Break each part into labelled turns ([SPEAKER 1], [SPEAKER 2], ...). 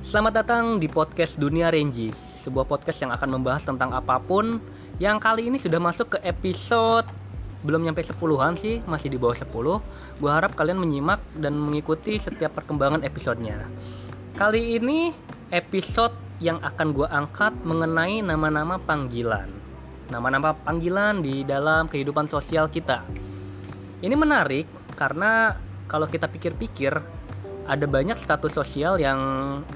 [SPEAKER 1] Selamat datang di podcast Dunia Renji, sebuah podcast yang akan membahas tentang apapun yang kali ini sudah masuk ke episode belum nyampe 10-an sih, masih di bawah 10. Gua harap kalian menyimak dan mengikuti setiap perkembangan episodenya. Kali ini episode yang akan gua angkat mengenai nama-nama panggilan. Nama-nama panggilan di dalam kehidupan sosial kita. Ini menarik karena kalau kita pikir-pikir ada banyak status sosial yang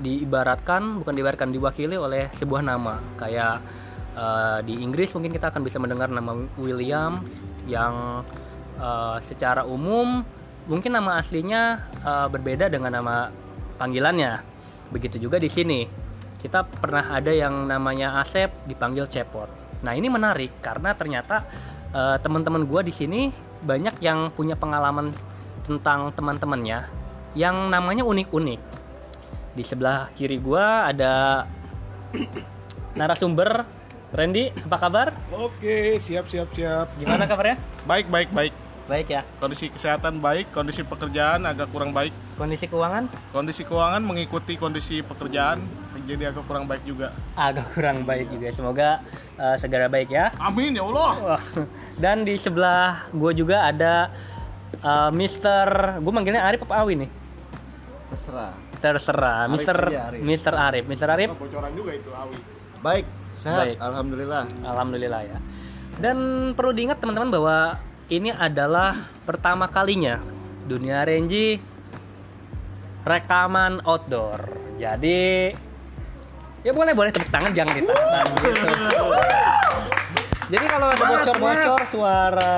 [SPEAKER 1] diibaratkan bukan diibaratkan diwakili oleh sebuah nama kayak uh, di Inggris mungkin kita akan bisa mendengar nama William yang uh, secara umum mungkin nama aslinya uh, berbeda dengan nama panggilannya begitu juga di sini kita pernah ada yang namanya Asep dipanggil Cepot nah ini menarik karena ternyata uh, teman-teman gue di sini banyak yang punya pengalaman tentang teman-temannya yang namanya unik-unik. Di sebelah kiri gua ada narasumber Randy, apa kabar?
[SPEAKER 2] Oke, siap siap siap.
[SPEAKER 1] Gimana kabarnya?
[SPEAKER 2] Baik baik baik.
[SPEAKER 1] Baik ya.
[SPEAKER 2] Kondisi kesehatan baik, kondisi pekerjaan agak kurang baik.
[SPEAKER 1] Kondisi keuangan
[SPEAKER 2] Kondisi keuangan mengikuti kondisi pekerjaan jadi agak kurang baik juga.
[SPEAKER 1] agak kurang baik juga. Semoga eh, segera baik ya.
[SPEAKER 2] Amin ya Allah.
[SPEAKER 1] Wah. Dan di sebelah gua juga ada eh, Mister, gua manggilnya Arif apa Awi nih?
[SPEAKER 3] Terserah.
[SPEAKER 1] Terserah,
[SPEAKER 3] Arif
[SPEAKER 1] Mister
[SPEAKER 3] aja, Arif.
[SPEAKER 1] Mister Arif, Mister Arif.
[SPEAKER 2] Oh, bocoran juga itu Awi.
[SPEAKER 3] Baik, sehat
[SPEAKER 1] Baik.
[SPEAKER 3] alhamdulillah.
[SPEAKER 1] Alhamdulillah ya. Dan perlu diingat teman-teman bahwa ini adalah pertama kalinya dunia Renji rekaman outdoor. Jadi ya boleh boleh tepuk tangan jangan ditahan gitu. Jadi kalau ada bocor-bocor suara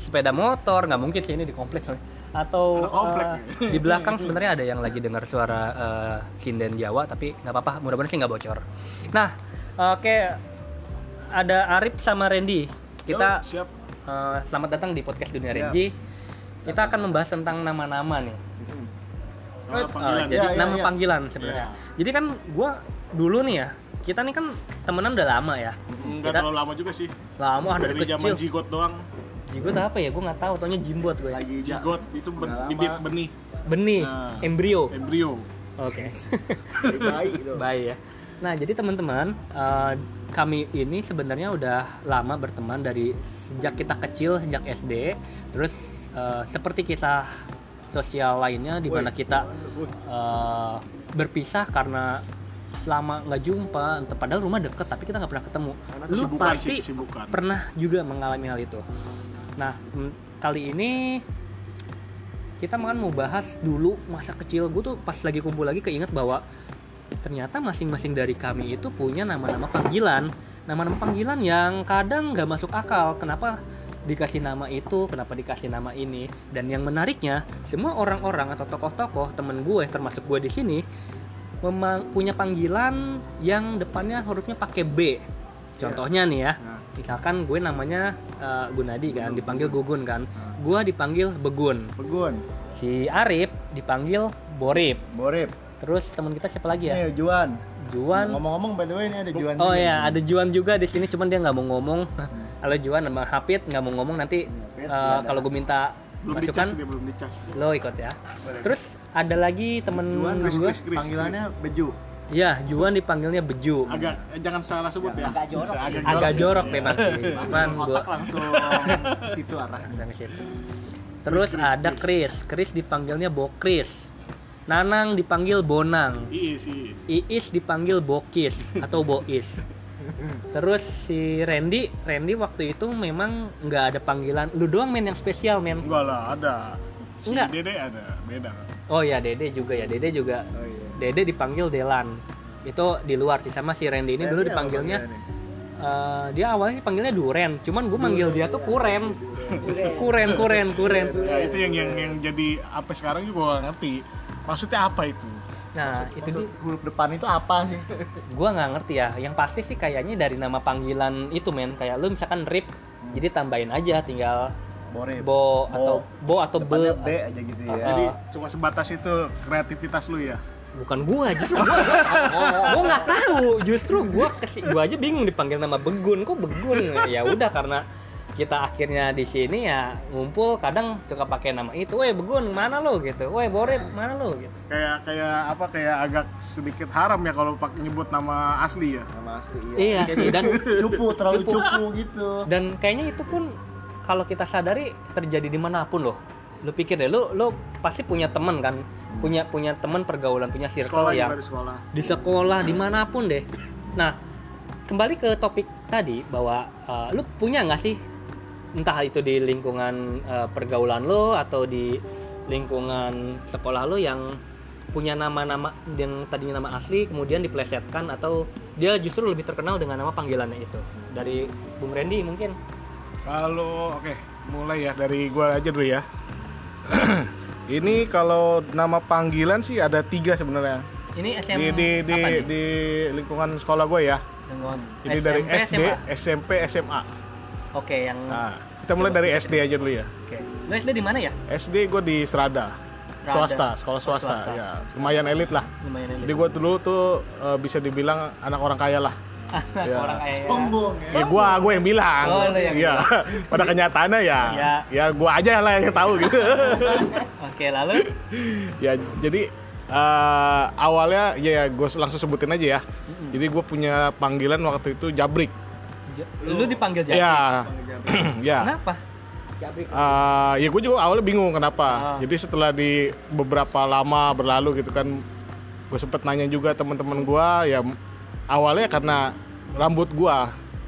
[SPEAKER 1] sepeda motor nggak mungkin sih ini di kompleks soalnya. atau
[SPEAKER 2] Ada komplek
[SPEAKER 1] eh, di belakang sebenarnya ada yang lagi dengar suara eh, sinden Jawa tapi nggak apa-apa mudah-mudahan sih nggak bocor. Nah, oke ada Arif sama Randy. Kita
[SPEAKER 2] Yo, Ya. siap.
[SPEAKER 1] eh, selamat datang di podcast Dunia
[SPEAKER 3] Siap.
[SPEAKER 1] Renji. Kita akan membahas tentang nama-nama nih.
[SPEAKER 2] Nama
[SPEAKER 1] Eh,
[SPEAKER 2] panggilan. Iya,
[SPEAKER 1] jadi
[SPEAKER 3] Ya, ya,
[SPEAKER 1] nama
[SPEAKER 3] ya.
[SPEAKER 1] panggilan sebenarnya. Jadi kan gua dulu nih ya, kita nih kan temenan udah lama ya.
[SPEAKER 2] Enggak
[SPEAKER 1] kita-
[SPEAKER 2] terlalu lama juga sih.
[SPEAKER 1] Lama ah, dari
[SPEAKER 2] Dari zaman
[SPEAKER 1] kecil.
[SPEAKER 2] jigot doang.
[SPEAKER 1] Jigot apa ya? Gua nggak tahu, taunya jimbot gue.
[SPEAKER 3] Lagi ja-
[SPEAKER 2] Jigot itu ben-
[SPEAKER 3] Iya. Udah lama.
[SPEAKER 2] bibit benih
[SPEAKER 1] Benih,
[SPEAKER 2] Nah.
[SPEAKER 1] embrio.
[SPEAKER 2] embrio.
[SPEAKER 1] Oke.
[SPEAKER 3] lagi baik dong.
[SPEAKER 1] Baik ya. Nah, jadi teman-teman, eh, kami ini sebenarnya udah lama berteman dari sejak kita kecil, sejak SD. Terus eh, seperti kisah sosial lainnya di mana
[SPEAKER 3] Woi.
[SPEAKER 1] kita eh, berpisah karena lama nggak jumpa, ent- padahal rumah deket tapi kita nggak pernah ketemu.
[SPEAKER 3] Karena
[SPEAKER 1] Lu
[SPEAKER 2] Kesibukan
[SPEAKER 1] pasti
[SPEAKER 2] sih, kesibukan.
[SPEAKER 1] pernah juga mengalami hal itu. Nah, m- kali ini kita kan mau bahas dulu masa kecil gue tuh pas lagi kumpul lagi keinget bahwa ternyata masing-masing dari kami itu punya nama-nama panggilan nama-nama panggilan yang kadang nggak masuk akal kenapa dikasih nama itu kenapa dikasih nama ini dan yang menariknya semua orang-orang atau tokoh-tokoh temen gue termasuk gue di sini memang punya panggilan yang depannya hurufnya pakai B contohnya nih ya
[SPEAKER 3] Nah,
[SPEAKER 1] misalkan gue namanya eh, Gunadi
[SPEAKER 3] Hmm.
[SPEAKER 1] kan dipanggil Gugun kan
[SPEAKER 3] nah.
[SPEAKER 1] gue dipanggil Begun
[SPEAKER 3] Begun,
[SPEAKER 1] si Arif dipanggil Borib
[SPEAKER 3] Borip,
[SPEAKER 1] terus teman kita siapa lagi ya
[SPEAKER 3] ini Juan.
[SPEAKER 1] Juan
[SPEAKER 3] Ngomong-ngomong by the way ini ada Iya. Juan.
[SPEAKER 1] oh
[SPEAKER 3] juga
[SPEAKER 1] ya
[SPEAKER 3] di
[SPEAKER 1] ada Juan juga di sini cuman dia nggak mau ngomong halo Juan sama Hafid nggak mau ngomong nanti eh,
[SPEAKER 3] sini. Pet, Iya, ada.
[SPEAKER 1] kalau gue minta
[SPEAKER 2] Belum dicas
[SPEAKER 1] masukan
[SPEAKER 2] dia belum dicas.
[SPEAKER 1] lo ikut ya
[SPEAKER 3] Boleh.
[SPEAKER 1] terus ada lagi temen
[SPEAKER 3] Juan
[SPEAKER 2] Chris,
[SPEAKER 1] gue
[SPEAKER 2] Chris, Chris.
[SPEAKER 3] panggilannya Beju.
[SPEAKER 1] ya Juan dipanggilnya Beju
[SPEAKER 2] Agak eh, jangan salah sebut ya.
[SPEAKER 3] Agak jorok.
[SPEAKER 2] Bisa Agak jorok.
[SPEAKER 1] agak
[SPEAKER 3] sih.
[SPEAKER 1] jorok
[SPEAKER 3] Iya.
[SPEAKER 1] memang sih cuman gue
[SPEAKER 3] Otak langsung situ arahnya.
[SPEAKER 1] Sampai situ. Terus
[SPEAKER 2] Chris, Chris,
[SPEAKER 1] ada Chris. Chris dipanggilnya Bokris. Nanang dipanggil Bonang.
[SPEAKER 2] Iya sih.
[SPEAKER 1] Iis dipanggil Bokis atau Bois. Terus si Randy, Randy waktu itu memang nggak ada panggilan. Lu doang men yang spesial men.
[SPEAKER 2] Enggak lah, ada. Si
[SPEAKER 1] Enggak.
[SPEAKER 2] Dede ada, beda.
[SPEAKER 1] Oh ya Dede juga ya, Dede juga.
[SPEAKER 3] Oh iya.
[SPEAKER 1] Dede dipanggil Delan. Itu di luar sih sama si Randy ini dulu
[SPEAKER 3] Ini apa
[SPEAKER 1] dipanggilnya
[SPEAKER 3] panggilannya?
[SPEAKER 1] eh, dia awalnya sih panggilnya Duren, cuman gue manggil dia tuh Kuren. Kuren, Kuren, Kuren.
[SPEAKER 2] Ya, itu yang yang yang jadi apa sekarang juga gak ngerti. Maksudnya apa itu?
[SPEAKER 1] Nah, itu
[SPEAKER 3] Maksud
[SPEAKER 1] dia
[SPEAKER 3] huruf depan itu apa sih?
[SPEAKER 1] gua nggak ngerti ya yang pasti sih kayaknya dari nama panggilan itu men kayak lu misalkan rip jadi tambahin aja tinggal
[SPEAKER 3] Borip.
[SPEAKER 1] bo atau bo atau
[SPEAKER 3] Depannya
[SPEAKER 1] Oh. be
[SPEAKER 3] B aja gitu ya.
[SPEAKER 2] Jadi
[SPEAKER 1] Ah.
[SPEAKER 2] cuma sebatas itu kreativitas lu ya.
[SPEAKER 1] bukan gua justru gua, gua nggak tahu justru gua kesi- gua aja bingung dipanggil nama begun kok begun ya udah karena kita akhirnya di sini ya ngumpul kadang suka pakai nama itu, weh begun mana lo gitu, weh borit mana lo gitu.
[SPEAKER 2] kayak kayak apa kayak agak sedikit haram ya kalau pak nyebut nama asli ya
[SPEAKER 3] Nama asli
[SPEAKER 1] Iya
[SPEAKER 3] Kayak
[SPEAKER 1] sih dan
[SPEAKER 3] cupu terlalu
[SPEAKER 1] Cupu.
[SPEAKER 3] cupu, gitu.
[SPEAKER 1] dan kayaknya itu pun kalau kita sadari terjadi dimanapun loh. Lu pikir deh, lu lu pasti punya temen kan, punya punya temen pergaulan, punya circle
[SPEAKER 2] sekolah
[SPEAKER 1] yang
[SPEAKER 2] juga di sekolah
[SPEAKER 1] di sekolah dimanapun deh. Nah kembali ke topik tadi bahwa uh, lu punya nggak sih entah itu di lingkungan uh, pergaulan lu atau di lingkungan sekolah lu yang punya nama-nama yang tadinya nama asli kemudian diplesetkan atau dia justru lebih terkenal dengan nama panggilannya itu dari Bung Randy mungkin
[SPEAKER 2] Kalau oke, mulai ya dari gua aja dulu ya. ini kalau nama panggilan sih ada tiga sebenarnya
[SPEAKER 1] ini SM
[SPEAKER 2] di di di,
[SPEAKER 1] apa nih?
[SPEAKER 2] di lingkungan sekolah gue ya.
[SPEAKER 1] Lingkungan
[SPEAKER 2] Jadi dari
[SPEAKER 1] SMP,
[SPEAKER 2] SD,
[SPEAKER 1] SMA?
[SPEAKER 2] SMP, SMA.
[SPEAKER 1] oke yang
[SPEAKER 2] Nah, kita mulai dari SD aja dulu ya.
[SPEAKER 1] oke lu SD di mana ya
[SPEAKER 2] SD gue di Serada,
[SPEAKER 1] Serada.
[SPEAKER 2] swasta, sekolah
[SPEAKER 1] Oh,
[SPEAKER 2] swasta,
[SPEAKER 1] swasta.
[SPEAKER 2] ya lumayan elit lah.
[SPEAKER 1] lumayan
[SPEAKER 2] Jadi gue dulu tuh eh, bisa dibilang anak orang kaya lah. ya.
[SPEAKER 1] orang kaya ya.
[SPEAKER 3] Sombong ya.
[SPEAKER 2] Ya gue gue yang bilang.
[SPEAKER 1] Oh, lu yang
[SPEAKER 2] Iya. Pada kenyataannya ya,
[SPEAKER 1] Iya.
[SPEAKER 2] ya gue aja lah yang tahu gitu.
[SPEAKER 1] oke lalu
[SPEAKER 2] ya jadi eh, awalnya ya gue langsung sebutin aja ya jadi gue punya panggilan waktu itu jabrik
[SPEAKER 1] Ja- lu dipanggil Jaki?
[SPEAKER 2] ya ya
[SPEAKER 1] Kenapa?
[SPEAKER 2] Eh, ya gue juga awalnya bingung
[SPEAKER 1] Ah.
[SPEAKER 2] kenapa jadi setelah di beberapa lama berlalu gitu kan gue sempet nanya juga teman-teman gue ya m- awalnya karena rambut gue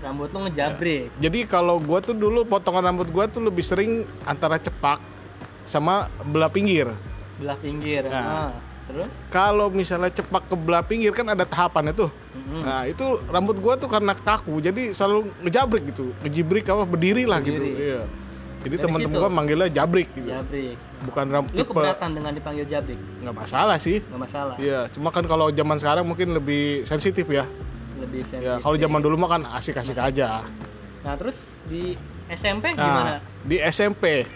[SPEAKER 1] Rambut lu ngejabrik.
[SPEAKER 2] jadi kalau gue tuh dulu potongan rambut gue tuh lebih sering antara cepak sama belah pinggir
[SPEAKER 1] Belah pinggir.
[SPEAKER 2] Nah.
[SPEAKER 1] Ah, Terus?
[SPEAKER 2] kalau misalnya cepak ke belah pinggir kan ada tahapannya tuh
[SPEAKER 1] Mm-mm.
[SPEAKER 2] Nah itu rambut gua tuh karena kaku jadi selalu ngejabrik gitu, ngejibrik apa berdiri lah gitu.
[SPEAKER 1] Berdiri.
[SPEAKER 2] Iya. Jadi
[SPEAKER 1] Dari
[SPEAKER 2] teman-teman
[SPEAKER 1] situ?
[SPEAKER 2] gua manggilnya jabrik gitu.
[SPEAKER 1] Jabrik.
[SPEAKER 2] Bukan rambut
[SPEAKER 1] Lu
[SPEAKER 2] tipe
[SPEAKER 1] keberatan dengan dipanggil jabrik?
[SPEAKER 2] nggak masalah sih.
[SPEAKER 1] Gak masalah.
[SPEAKER 2] Iya, cuma kan kalau zaman sekarang mungkin lebih sensitif ya.
[SPEAKER 1] Lebih sensitif.
[SPEAKER 2] Ya, kalau zaman dulu mah kan asik-asik aja.
[SPEAKER 1] Nah, terus di SMP gimana?
[SPEAKER 2] Nah, di SMP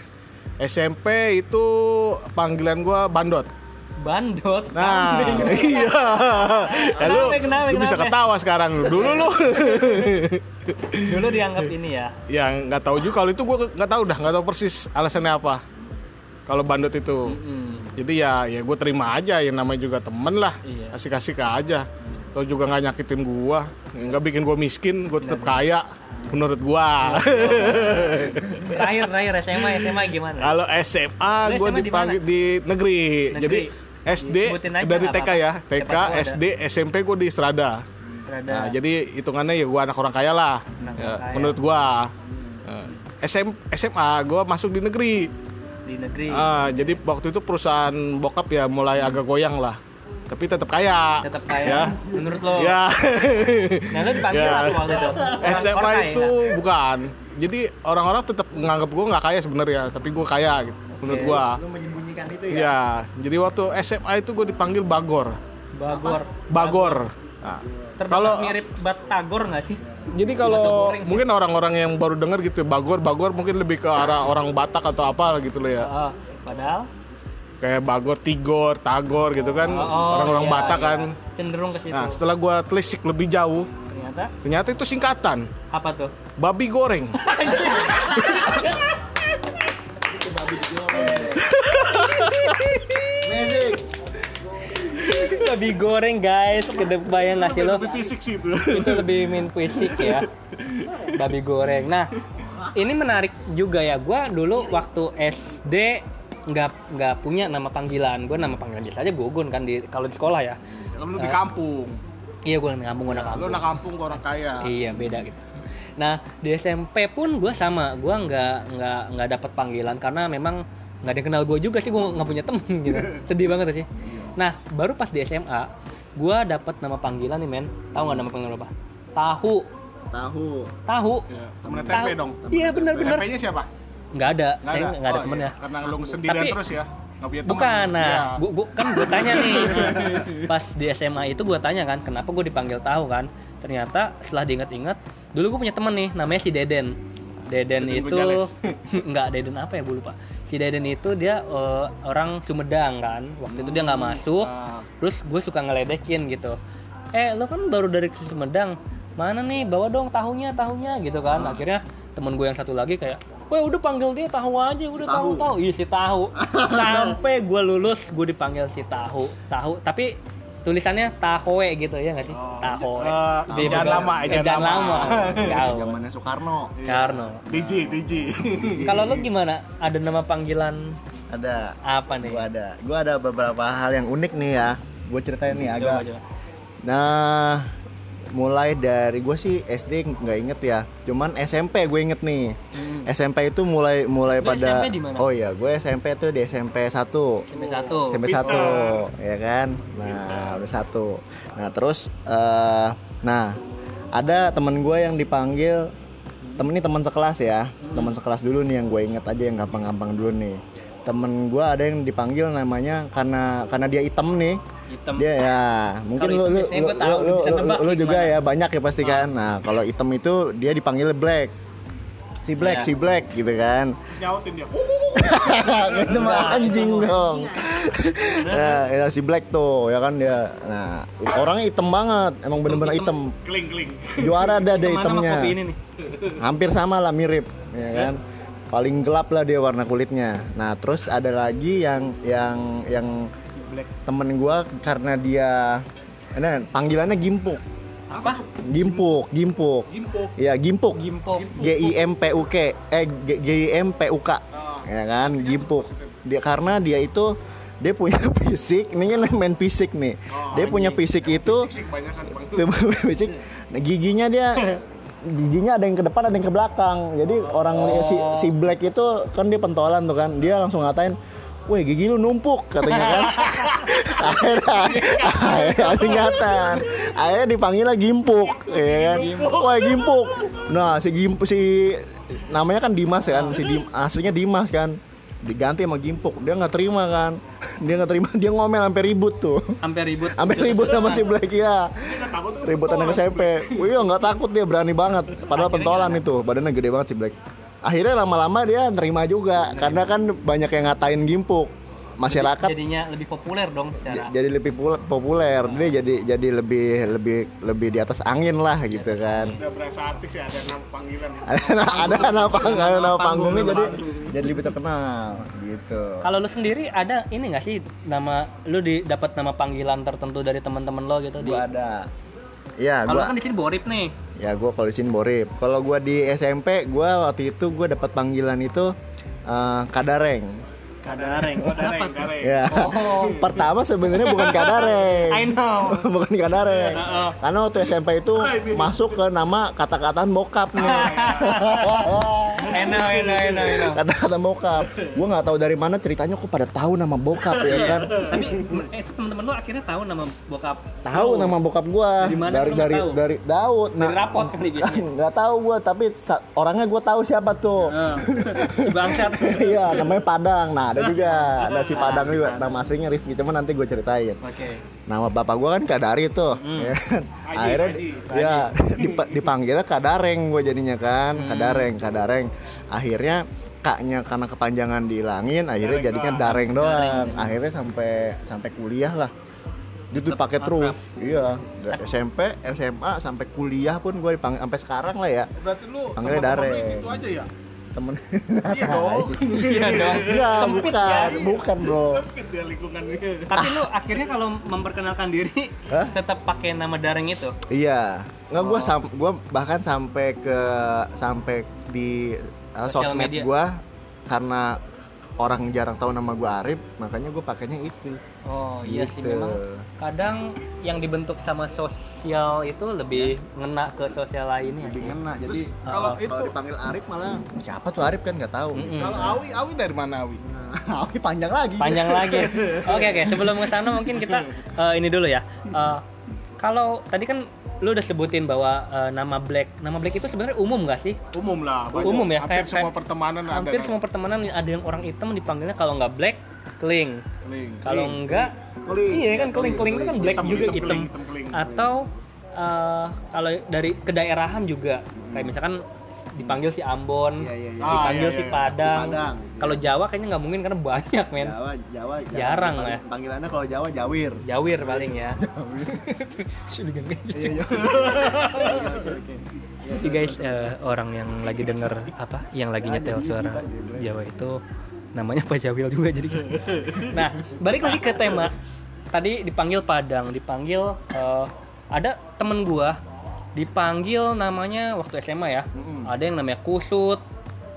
[SPEAKER 2] SMP itu panggilan gua bandot.
[SPEAKER 1] Bandot.
[SPEAKER 2] Nah,
[SPEAKER 1] kambing.
[SPEAKER 2] iya. Ya, lu,
[SPEAKER 1] Kenapa, kenapa,
[SPEAKER 2] lu bisa
[SPEAKER 1] kenapa?
[SPEAKER 2] ketawa sekarang lu. Dulu lu
[SPEAKER 1] Dulu dianggap ini ya.
[SPEAKER 2] yang nggak tahu juga kalau itu gue nggak tahu dah nggak tahu persis alasannya apa kalau bandut itu
[SPEAKER 1] Mm-mm.
[SPEAKER 2] jadi ya ya gue terima aja ya namanya juga temen lah
[SPEAKER 1] Iya.
[SPEAKER 2] asik-asik aja Tau juga nggak nyakitin gue nggak bikin gue miskin gue
[SPEAKER 1] Iya,
[SPEAKER 2] tetap kaya menurut gue
[SPEAKER 1] Mm. Terakhir, terakhir SMA, SMA gimana?
[SPEAKER 2] kalau SMA
[SPEAKER 1] Lu
[SPEAKER 2] gue
[SPEAKER 1] SMA di
[SPEAKER 2] dipanggil di negeri.
[SPEAKER 1] Negeri.
[SPEAKER 2] jadi SD
[SPEAKER 1] Sebutin aja
[SPEAKER 2] dari
[SPEAKER 1] nggak
[SPEAKER 2] TK
[SPEAKER 1] apa-apa.
[SPEAKER 2] ya
[SPEAKER 1] Siapa
[SPEAKER 2] TK
[SPEAKER 1] tahu ada.
[SPEAKER 2] SD SMP gue di Strada
[SPEAKER 1] Terada.
[SPEAKER 2] Nah, jadi hitungannya ya gue anak orang kaya lah.
[SPEAKER 1] Anak orang
[SPEAKER 2] Ya,
[SPEAKER 1] kaya. Hmm.
[SPEAKER 2] Menurut Eh, gue. SM, SMA gue masuk di negeri.
[SPEAKER 1] Di negeri.
[SPEAKER 2] Ah, jadi waktu itu perusahaan bokap ya mulai agak goyang lah. Tapi tetap kaya.
[SPEAKER 1] Tetap kaya.
[SPEAKER 2] Ya.
[SPEAKER 1] Menurut lo.
[SPEAKER 2] Ya.
[SPEAKER 1] Nah, lu dipanggil
[SPEAKER 2] Ya.
[SPEAKER 1] apa waktu itu? Orang-
[SPEAKER 2] SMA
[SPEAKER 1] orang kaya
[SPEAKER 2] itu
[SPEAKER 1] nggak?
[SPEAKER 2] bukan. Jadi orang-orang tetap menganggap gue nggak kaya sebenarnya, tapi gue kaya gitu. Menurut
[SPEAKER 1] Oke.
[SPEAKER 2] gue.
[SPEAKER 3] Lu menyembunyikan itu ya.
[SPEAKER 2] Ya. Jadi waktu SMA itu gue dipanggil Bagor.
[SPEAKER 1] Bagor.
[SPEAKER 2] Bagor. Nah,
[SPEAKER 1] Terdapat
[SPEAKER 2] Kalau-
[SPEAKER 1] mirip Batagor nggak sih?
[SPEAKER 2] Jadi
[SPEAKER 1] Iya,
[SPEAKER 2] kalau mungkin orang-orang yang baru dengar gitu Bagor Bagor mungkin lebih ke arah orang Batak atau apa gitu loh ya.
[SPEAKER 1] Ah, padahal
[SPEAKER 2] Kayak Bagor, Tigor, Tagor gitu kan.
[SPEAKER 1] oh,
[SPEAKER 2] Orang-orang
[SPEAKER 1] iya,
[SPEAKER 2] Batak
[SPEAKER 1] iya.
[SPEAKER 2] kan.
[SPEAKER 1] cenderung ke situ.
[SPEAKER 2] Nah, setelah gua telisik lebih jauh,
[SPEAKER 1] Ternyata
[SPEAKER 2] ternyata itu singkatan
[SPEAKER 1] apa tuh?
[SPEAKER 2] babi goreng.
[SPEAKER 1] Iya.
[SPEAKER 3] Amazing.
[SPEAKER 1] lebih goreng guys, kedebayang nggak sih lo?
[SPEAKER 2] Lebih fisik sih itu.
[SPEAKER 1] Itu lebih min fisik ya. Babi goreng. Nah, ini menarik juga ya. Gua dulu waktu SD nggak nggak punya nama panggilan. Gua nama panggilan biasa aja Gogun kan di kalau di sekolah ya.
[SPEAKER 2] Kamu di kampung.
[SPEAKER 1] Iya gua nama kampung gua nama
[SPEAKER 2] Lu
[SPEAKER 1] kampung.
[SPEAKER 2] anak kampung gua orang kaya.
[SPEAKER 1] Iya beda gitu. Nah di SMP pun gue sama, gue nggak nggak nggak dapat panggilan karena memang nggak ada yang kenal gue juga sih, gue nggak punya temen gitu. Sedih banget sih. Nah baru pas di SMA, gue dapat nama panggilan nih men. Tahu nggak nama panggilan apa? Tahu,
[SPEAKER 3] Tahu.
[SPEAKER 1] tahu.
[SPEAKER 2] Ya, temennya
[SPEAKER 1] Tahu.
[SPEAKER 2] TP dong.
[SPEAKER 1] Iya benar-benar.
[SPEAKER 2] TP-nya siapa?
[SPEAKER 1] Nggak ada,
[SPEAKER 2] Nggak
[SPEAKER 1] saya nggak ada
[SPEAKER 2] Oh,
[SPEAKER 1] temennya.
[SPEAKER 2] iya. Karena lu sendirian
[SPEAKER 1] Ya. Tapi-
[SPEAKER 2] terus ya. Nggak punya teman.
[SPEAKER 1] Bukan,
[SPEAKER 2] Iya.
[SPEAKER 1] nah, gua- gua- kan gue tanya nih, pas di SMA itu gue tanya kan, kenapa gue dipanggil tahu kan? Ternyata setelah diingat-ingat, dulu gue punya temen nih, namanya si Deden. Deden
[SPEAKER 2] Deden
[SPEAKER 1] itu,
[SPEAKER 2] Gonzales.
[SPEAKER 1] nggak Deden apa ya, gue lupa. Si Deden itu dia eh, orang Sumedang kan, waktu itu dia nggak masuk,
[SPEAKER 2] Ah,
[SPEAKER 1] terus gue suka ngeledekin gitu. Eh, lo kan baru dari Sumedang, mana nih, bawa dong tahunya, tahunya gitu kan. Akhirnya temen gue yang satu lagi kayak Wah udah panggil dia tahu aja, udah tahu
[SPEAKER 3] Tahu.
[SPEAKER 1] tahu. Iya si tahu. Sampai gue lulus, gue dipanggil si tahu, tahu. Tapi tulisannya tahoe gitu ya nggak sih?
[SPEAKER 2] Oh.
[SPEAKER 1] tahoe.
[SPEAKER 2] Eh,
[SPEAKER 1] Di
[SPEAKER 3] jangan
[SPEAKER 1] Bogor.
[SPEAKER 2] lama,
[SPEAKER 1] Eh,
[SPEAKER 2] jangan
[SPEAKER 1] jangan
[SPEAKER 2] lama.
[SPEAKER 1] lama. Jauh.
[SPEAKER 3] Zamannya Soekarno.
[SPEAKER 1] Karno.
[SPEAKER 2] DJ, DJ.
[SPEAKER 1] Kalau lu gimana? Ada nama panggilan
[SPEAKER 3] Ada.
[SPEAKER 1] apa nih?
[SPEAKER 3] Gua ada. Gua ada beberapa hal yang unik nih ya. Gua ceritain nih
[SPEAKER 1] Coba,
[SPEAKER 3] agak.
[SPEAKER 1] coba.
[SPEAKER 3] Nah, mulai dari gue sih SD nggak inget ya. Cuman SMP gue inget nih. SMP itu mulai mulai
[SPEAKER 1] Hmm. Lu
[SPEAKER 3] pada
[SPEAKER 1] SMP di mana?
[SPEAKER 3] Oh iya, gue SMP tuh di SMP 1.
[SPEAKER 1] SMP satu.
[SPEAKER 3] SMP
[SPEAKER 2] pintar.
[SPEAKER 3] 1, ya kan? Nah, udah satu. Nah, terus eh nah, ada temen gue yang dipanggil temen ini teman sekelas ya. Teman sekelas dulu nih yang gue inget aja yang gampang-gampang dulu nih. Temen gue ada yang dipanggil namanya karena karena dia item nih
[SPEAKER 1] Hitam.
[SPEAKER 3] dia ya mungkin
[SPEAKER 1] Kalau hitam
[SPEAKER 3] lu lu
[SPEAKER 1] biasanya
[SPEAKER 3] lu,
[SPEAKER 1] gua tahu,
[SPEAKER 3] lu,
[SPEAKER 1] bisa
[SPEAKER 3] lu-
[SPEAKER 1] nebak
[SPEAKER 3] lu
[SPEAKER 1] sih
[SPEAKER 3] juga
[SPEAKER 1] gimana. Oh.
[SPEAKER 3] ya banyak ya pasti kan nah kalau hitam itu dia dipanggil black si black
[SPEAKER 1] Iya.
[SPEAKER 3] si black gitu kan
[SPEAKER 2] Nyautin dia.
[SPEAKER 3] itu Iya, gitu, mah
[SPEAKER 1] Nah, itu
[SPEAKER 3] anjing
[SPEAKER 1] mah. Iya.
[SPEAKER 3] dong nah, ya, si black tuh ya kan dia nah orangnya hitam banget emang bener-bener
[SPEAKER 1] Hitam.
[SPEAKER 3] hitam
[SPEAKER 2] Kling, kling.
[SPEAKER 3] juara ada ada
[SPEAKER 1] Kemana sama
[SPEAKER 3] hitamnya
[SPEAKER 1] kopi ini Iya. nih?
[SPEAKER 3] hampir sama lah mirip ya kan paling gelap lah dia warna kulitnya nah terus ada lagi yang yang yang
[SPEAKER 2] Si Black.
[SPEAKER 3] temen gua karena dia nah, panggilannya gimpuk
[SPEAKER 1] Apa?
[SPEAKER 3] Gimpuk, gimpuk.
[SPEAKER 2] Gimpo.
[SPEAKER 3] Ya, gimpuk.
[SPEAKER 1] Gimpok.
[SPEAKER 3] G I M P U K eh G- G I M P U K.
[SPEAKER 2] Ah,
[SPEAKER 3] Ya kan, gimpuk. Dia karena dia itu dia punya fisik, ini kan main fisik nih. Dia punya fisik itu
[SPEAKER 2] Sik banyak kan bang.
[SPEAKER 3] dia punya fisik nah, giginya dia giginya ada yang ke depan ada yang ke belakang jadi orang lihat si, si black itu kan dia pentolan tuh kan dia langsung ngatain Weh gigi lu numpuk katanya kan Akhirnya Akhirnya singkatan Akhirnya dipanggilnya gimpuk ya kan Weh gimpuk Nah si gimpuk si Namanya kan Dimas kan si Dim, Aslinya Dimas kan Diganti sama gimpuk Dia nggak terima kan Dia nggak terima Dia ngomel sampai ribut tuh
[SPEAKER 1] Sampai ribut.
[SPEAKER 3] Sampai ribut sama si Black ya.
[SPEAKER 2] kan
[SPEAKER 3] Ribut anak SMP. Wih, Iya, nggak takut dia berani banget. Padahal pentolan itu, badannya gede banget si Black. Akhirnya lama-lama dia nerima juga karena kan banyak yang ngatain gimpuk. Masyarakat
[SPEAKER 1] Jadinya lebih populer dong
[SPEAKER 3] j-
[SPEAKER 1] secara.
[SPEAKER 3] jadi lebih pul- populer. Dia jadi jadi lebih lebih lebih di atas angin lah gitu kan.
[SPEAKER 2] Udah berasa artis ya ada enam panggilan.
[SPEAKER 3] Ada ada nama pang- ada nama
[SPEAKER 1] Panggung,
[SPEAKER 3] panggungnya jadi
[SPEAKER 1] panggung.
[SPEAKER 3] jadi lebih terkenal gitu.
[SPEAKER 1] Kalau lu sendiri ada ini nggak sih nama lu di dapat nama panggilan tertentu dari teman-teman lo gitu di
[SPEAKER 3] Gua ada. Iya,
[SPEAKER 1] Kalau
[SPEAKER 3] gua
[SPEAKER 1] kan di sini Borip nih.
[SPEAKER 3] Ya gue kalau di sini Borip. Kalau gue di SMP, gue waktu itu gue dapat panggilan itu eh, Kadareng.
[SPEAKER 1] Kadareng.
[SPEAKER 2] Oh, dareng,
[SPEAKER 1] tuh?
[SPEAKER 2] dareng.
[SPEAKER 3] Ya.
[SPEAKER 1] Oh.
[SPEAKER 3] Pertama sebenarnya bukan Kadareng.
[SPEAKER 1] I know.
[SPEAKER 3] bukan Kadareng.
[SPEAKER 1] Ya, Heeh.
[SPEAKER 3] Karena waktu SMP itu masuk ke nama kata-kataan bokap nih.
[SPEAKER 1] I know, I know, I know, I know.
[SPEAKER 3] kata-kata bokap. Gue nggak tahu dari mana ceritanya kok pada tahu nama bokap ya
[SPEAKER 1] Iya.
[SPEAKER 3] kan.
[SPEAKER 1] Tapi eh, itu teman-teman lu akhirnya tahu nama bokap.
[SPEAKER 3] Tahu
[SPEAKER 1] lu.
[SPEAKER 3] nama bokap gua
[SPEAKER 1] Dari mana
[SPEAKER 3] dari
[SPEAKER 1] lu
[SPEAKER 3] dari,
[SPEAKER 1] tahu?
[SPEAKER 3] dari Daud. Nah,
[SPEAKER 1] Dari rapot kali biasanya.
[SPEAKER 3] Nggak tahu gua tapi sa- orangnya gua tahu siapa tuh.
[SPEAKER 1] Heeh. Ah. Si bangsat.
[SPEAKER 3] Iya, namanya Padang. Nah, ada juga. Ada si
[SPEAKER 1] Ah,
[SPEAKER 3] Padang
[SPEAKER 1] si
[SPEAKER 3] juga.
[SPEAKER 1] Padang.
[SPEAKER 3] Nama aslinya Rifki, cuma nanti gue ceritain.
[SPEAKER 1] Oke.
[SPEAKER 3] Nama bapak gue kan Kadari tuh.
[SPEAKER 1] Hmm.
[SPEAKER 3] ya kan?
[SPEAKER 2] Haji,
[SPEAKER 3] Akhirnya
[SPEAKER 2] Haji,
[SPEAKER 3] ya dip- dipanggilnya Kadareng gue jadinya kan. Kadareng, Kadareng. Akhirnya kaknya karena kepanjangan dihilangin, akhirnya
[SPEAKER 2] Dareng
[SPEAKER 3] jadinya
[SPEAKER 2] doang.
[SPEAKER 3] Dareng doang. Akhirnya sampai sampai kuliah lah. Itu
[SPEAKER 1] Tetep
[SPEAKER 3] pakai terus.
[SPEAKER 1] akrab.
[SPEAKER 3] Iya, dari SMP, SMA sampai kuliah pun gue dipanggil sampai sekarang lah ya.
[SPEAKER 2] Berarti lu
[SPEAKER 3] Panggilnya
[SPEAKER 2] teman-teman lu
[SPEAKER 3] dareng.
[SPEAKER 2] Gitu aja ya.
[SPEAKER 3] Temen
[SPEAKER 2] Iya dong.
[SPEAKER 1] Iya dong.
[SPEAKER 3] Enggak,
[SPEAKER 1] Sempit
[SPEAKER 3] bukan,
[SPEAKER 1] ya.
[SPEAKER 3] bukan, Bro.
[SPEAKER 2] Sempit dia lingkungannya.
[SPEAKER 1] Tapi lu akhirnya kalau memperkenalkan diri
[SPEAKER 3] Hah?
[SPEAKER 1] tetap pakai nama Dareng itu.
[SPEAKER 3] Iya. Nggak
[SPEAKER 1] Oh.
[SPEAKER 3] gua sam- gua bahkan sampai ke sampai di uh,
[SPEAKER 1] Sosial
[SPEAKER 3] sosmed
[SPEAKER 1] media.
[SPEAKER 3] gua karena orang jarang tahu nama gua Arif, makanya gua pakainya itu.
[SPEAKER 1] Oh iya sih
[SPEAKER 3] Gitu.
[SPEAKER 1] memang kadang yang dibentuk sama sosial itu lebih
[SPEAKER 2] Iya.
[SPEAKER 1] ngena ke sosial lainnya
[SPEAKER 3] Jadi
[SPEAKER 1] sih.
[SPEAKER 3] ngena. Jadi
[SPEAKER 2] Terus kalau
[SPEAKER 1] Oh,
[SPEAKER 3] kalau
[SPEAKER 2] itu
[SPEAKER 3] dipanggil Arif malah siapa tuh Arif kan nggak tahu.
[SPEAKER 1] Mm-mm.
[SPEAKER 2] kalau Awi, Awi dari mana Awi?
[SPEAKER 3] Nah, Arif panjang lagi.
[SPEAKER 1] Panjang lagi. Oke oke, sebelum ke sana mungkin kita eh, ini dulu ya. Eh, kalau tadi kan lu udah sebutin bahwa eh, nama Black, nama Black itu sebenarnya umum gak sih?
[SPEAKER 2] Umum lah.
[SPEAKER 1] Umum ya,
[SPEAKER 2] Hampir
[SPEAKER 1] kayak- kayak-
[SPEAKER 2] semua pertemanan
[SPEAKER 1] Hampir
[SPEAKER 2] ada. kan.
[SPEAKER 1] semua pertemanan ada yang orang hitam dipanggilnya kalau nggak Black, Keling.
[SPEAKER 2] Link.
[SPEAKER 1] Kalau
[SPEAKER 3] Keling,
[SPEAKER 1] enggak
[SPEAKER 3] keling.
[SPEAKER 1] Iya kan keling-keling itu kan black
[SPEAKER 2] Hitam,
[SPEAKER 1] juga
[SPEAKER 2] hitam,
[SPEAKER 1] hitam.
[SPEAKER 2] keling, hitam, keling.
[SPEAKER 1] Atau eh, kalau dari kedaerahan juga kayak misalkan dipanggil si Ambon,
[SPEAKER 3] Iya, iya, iya.
[SPEAKER 2] Ah,
[SPEAKER 1] dipanggil
[SPEAKER 2] iya,
[SPEAKER 1] si
[SPEAKER 2] iya.
[SPEAKER 1] Padang.
[SPEAKER 3] Si Padang, iya.
[SPEAKER 1] Kalau Jawa kayaknya nggak mungkin karena banyak men.
[SPEAKER 2] Iya.
[SPEAKER 3] Jawa, Jawa, Jawa.
[SPEAKER 1] Jarang
[SPEAKER 3] Paling-
[SPEAKER 1] lah ya.
[SPEAKER 3] Panggilannya kalau Jawa Jawir.
[SPEAKER 2] Iya.
[SPEAKER 1] Jawir paling ya. Sih, lu jangan kayak gitu.
[SPEAKER 3] Iya, iya.
[SPEAKER 1] Jadi guys, eh, orang yang lagi denger apa, yang lagi nyetel suara Jawa itu namanya Pak Jawil juga jadi. Nah, balik lagi ke tema. Tadi dipanggil Padang, dipanggil eh, ada temen gua dipanggil namanya waktu SMA ya.
[SPEAKER 3] Mm-mm.
[SPEAKER 1] Ada yang namanya Kusut.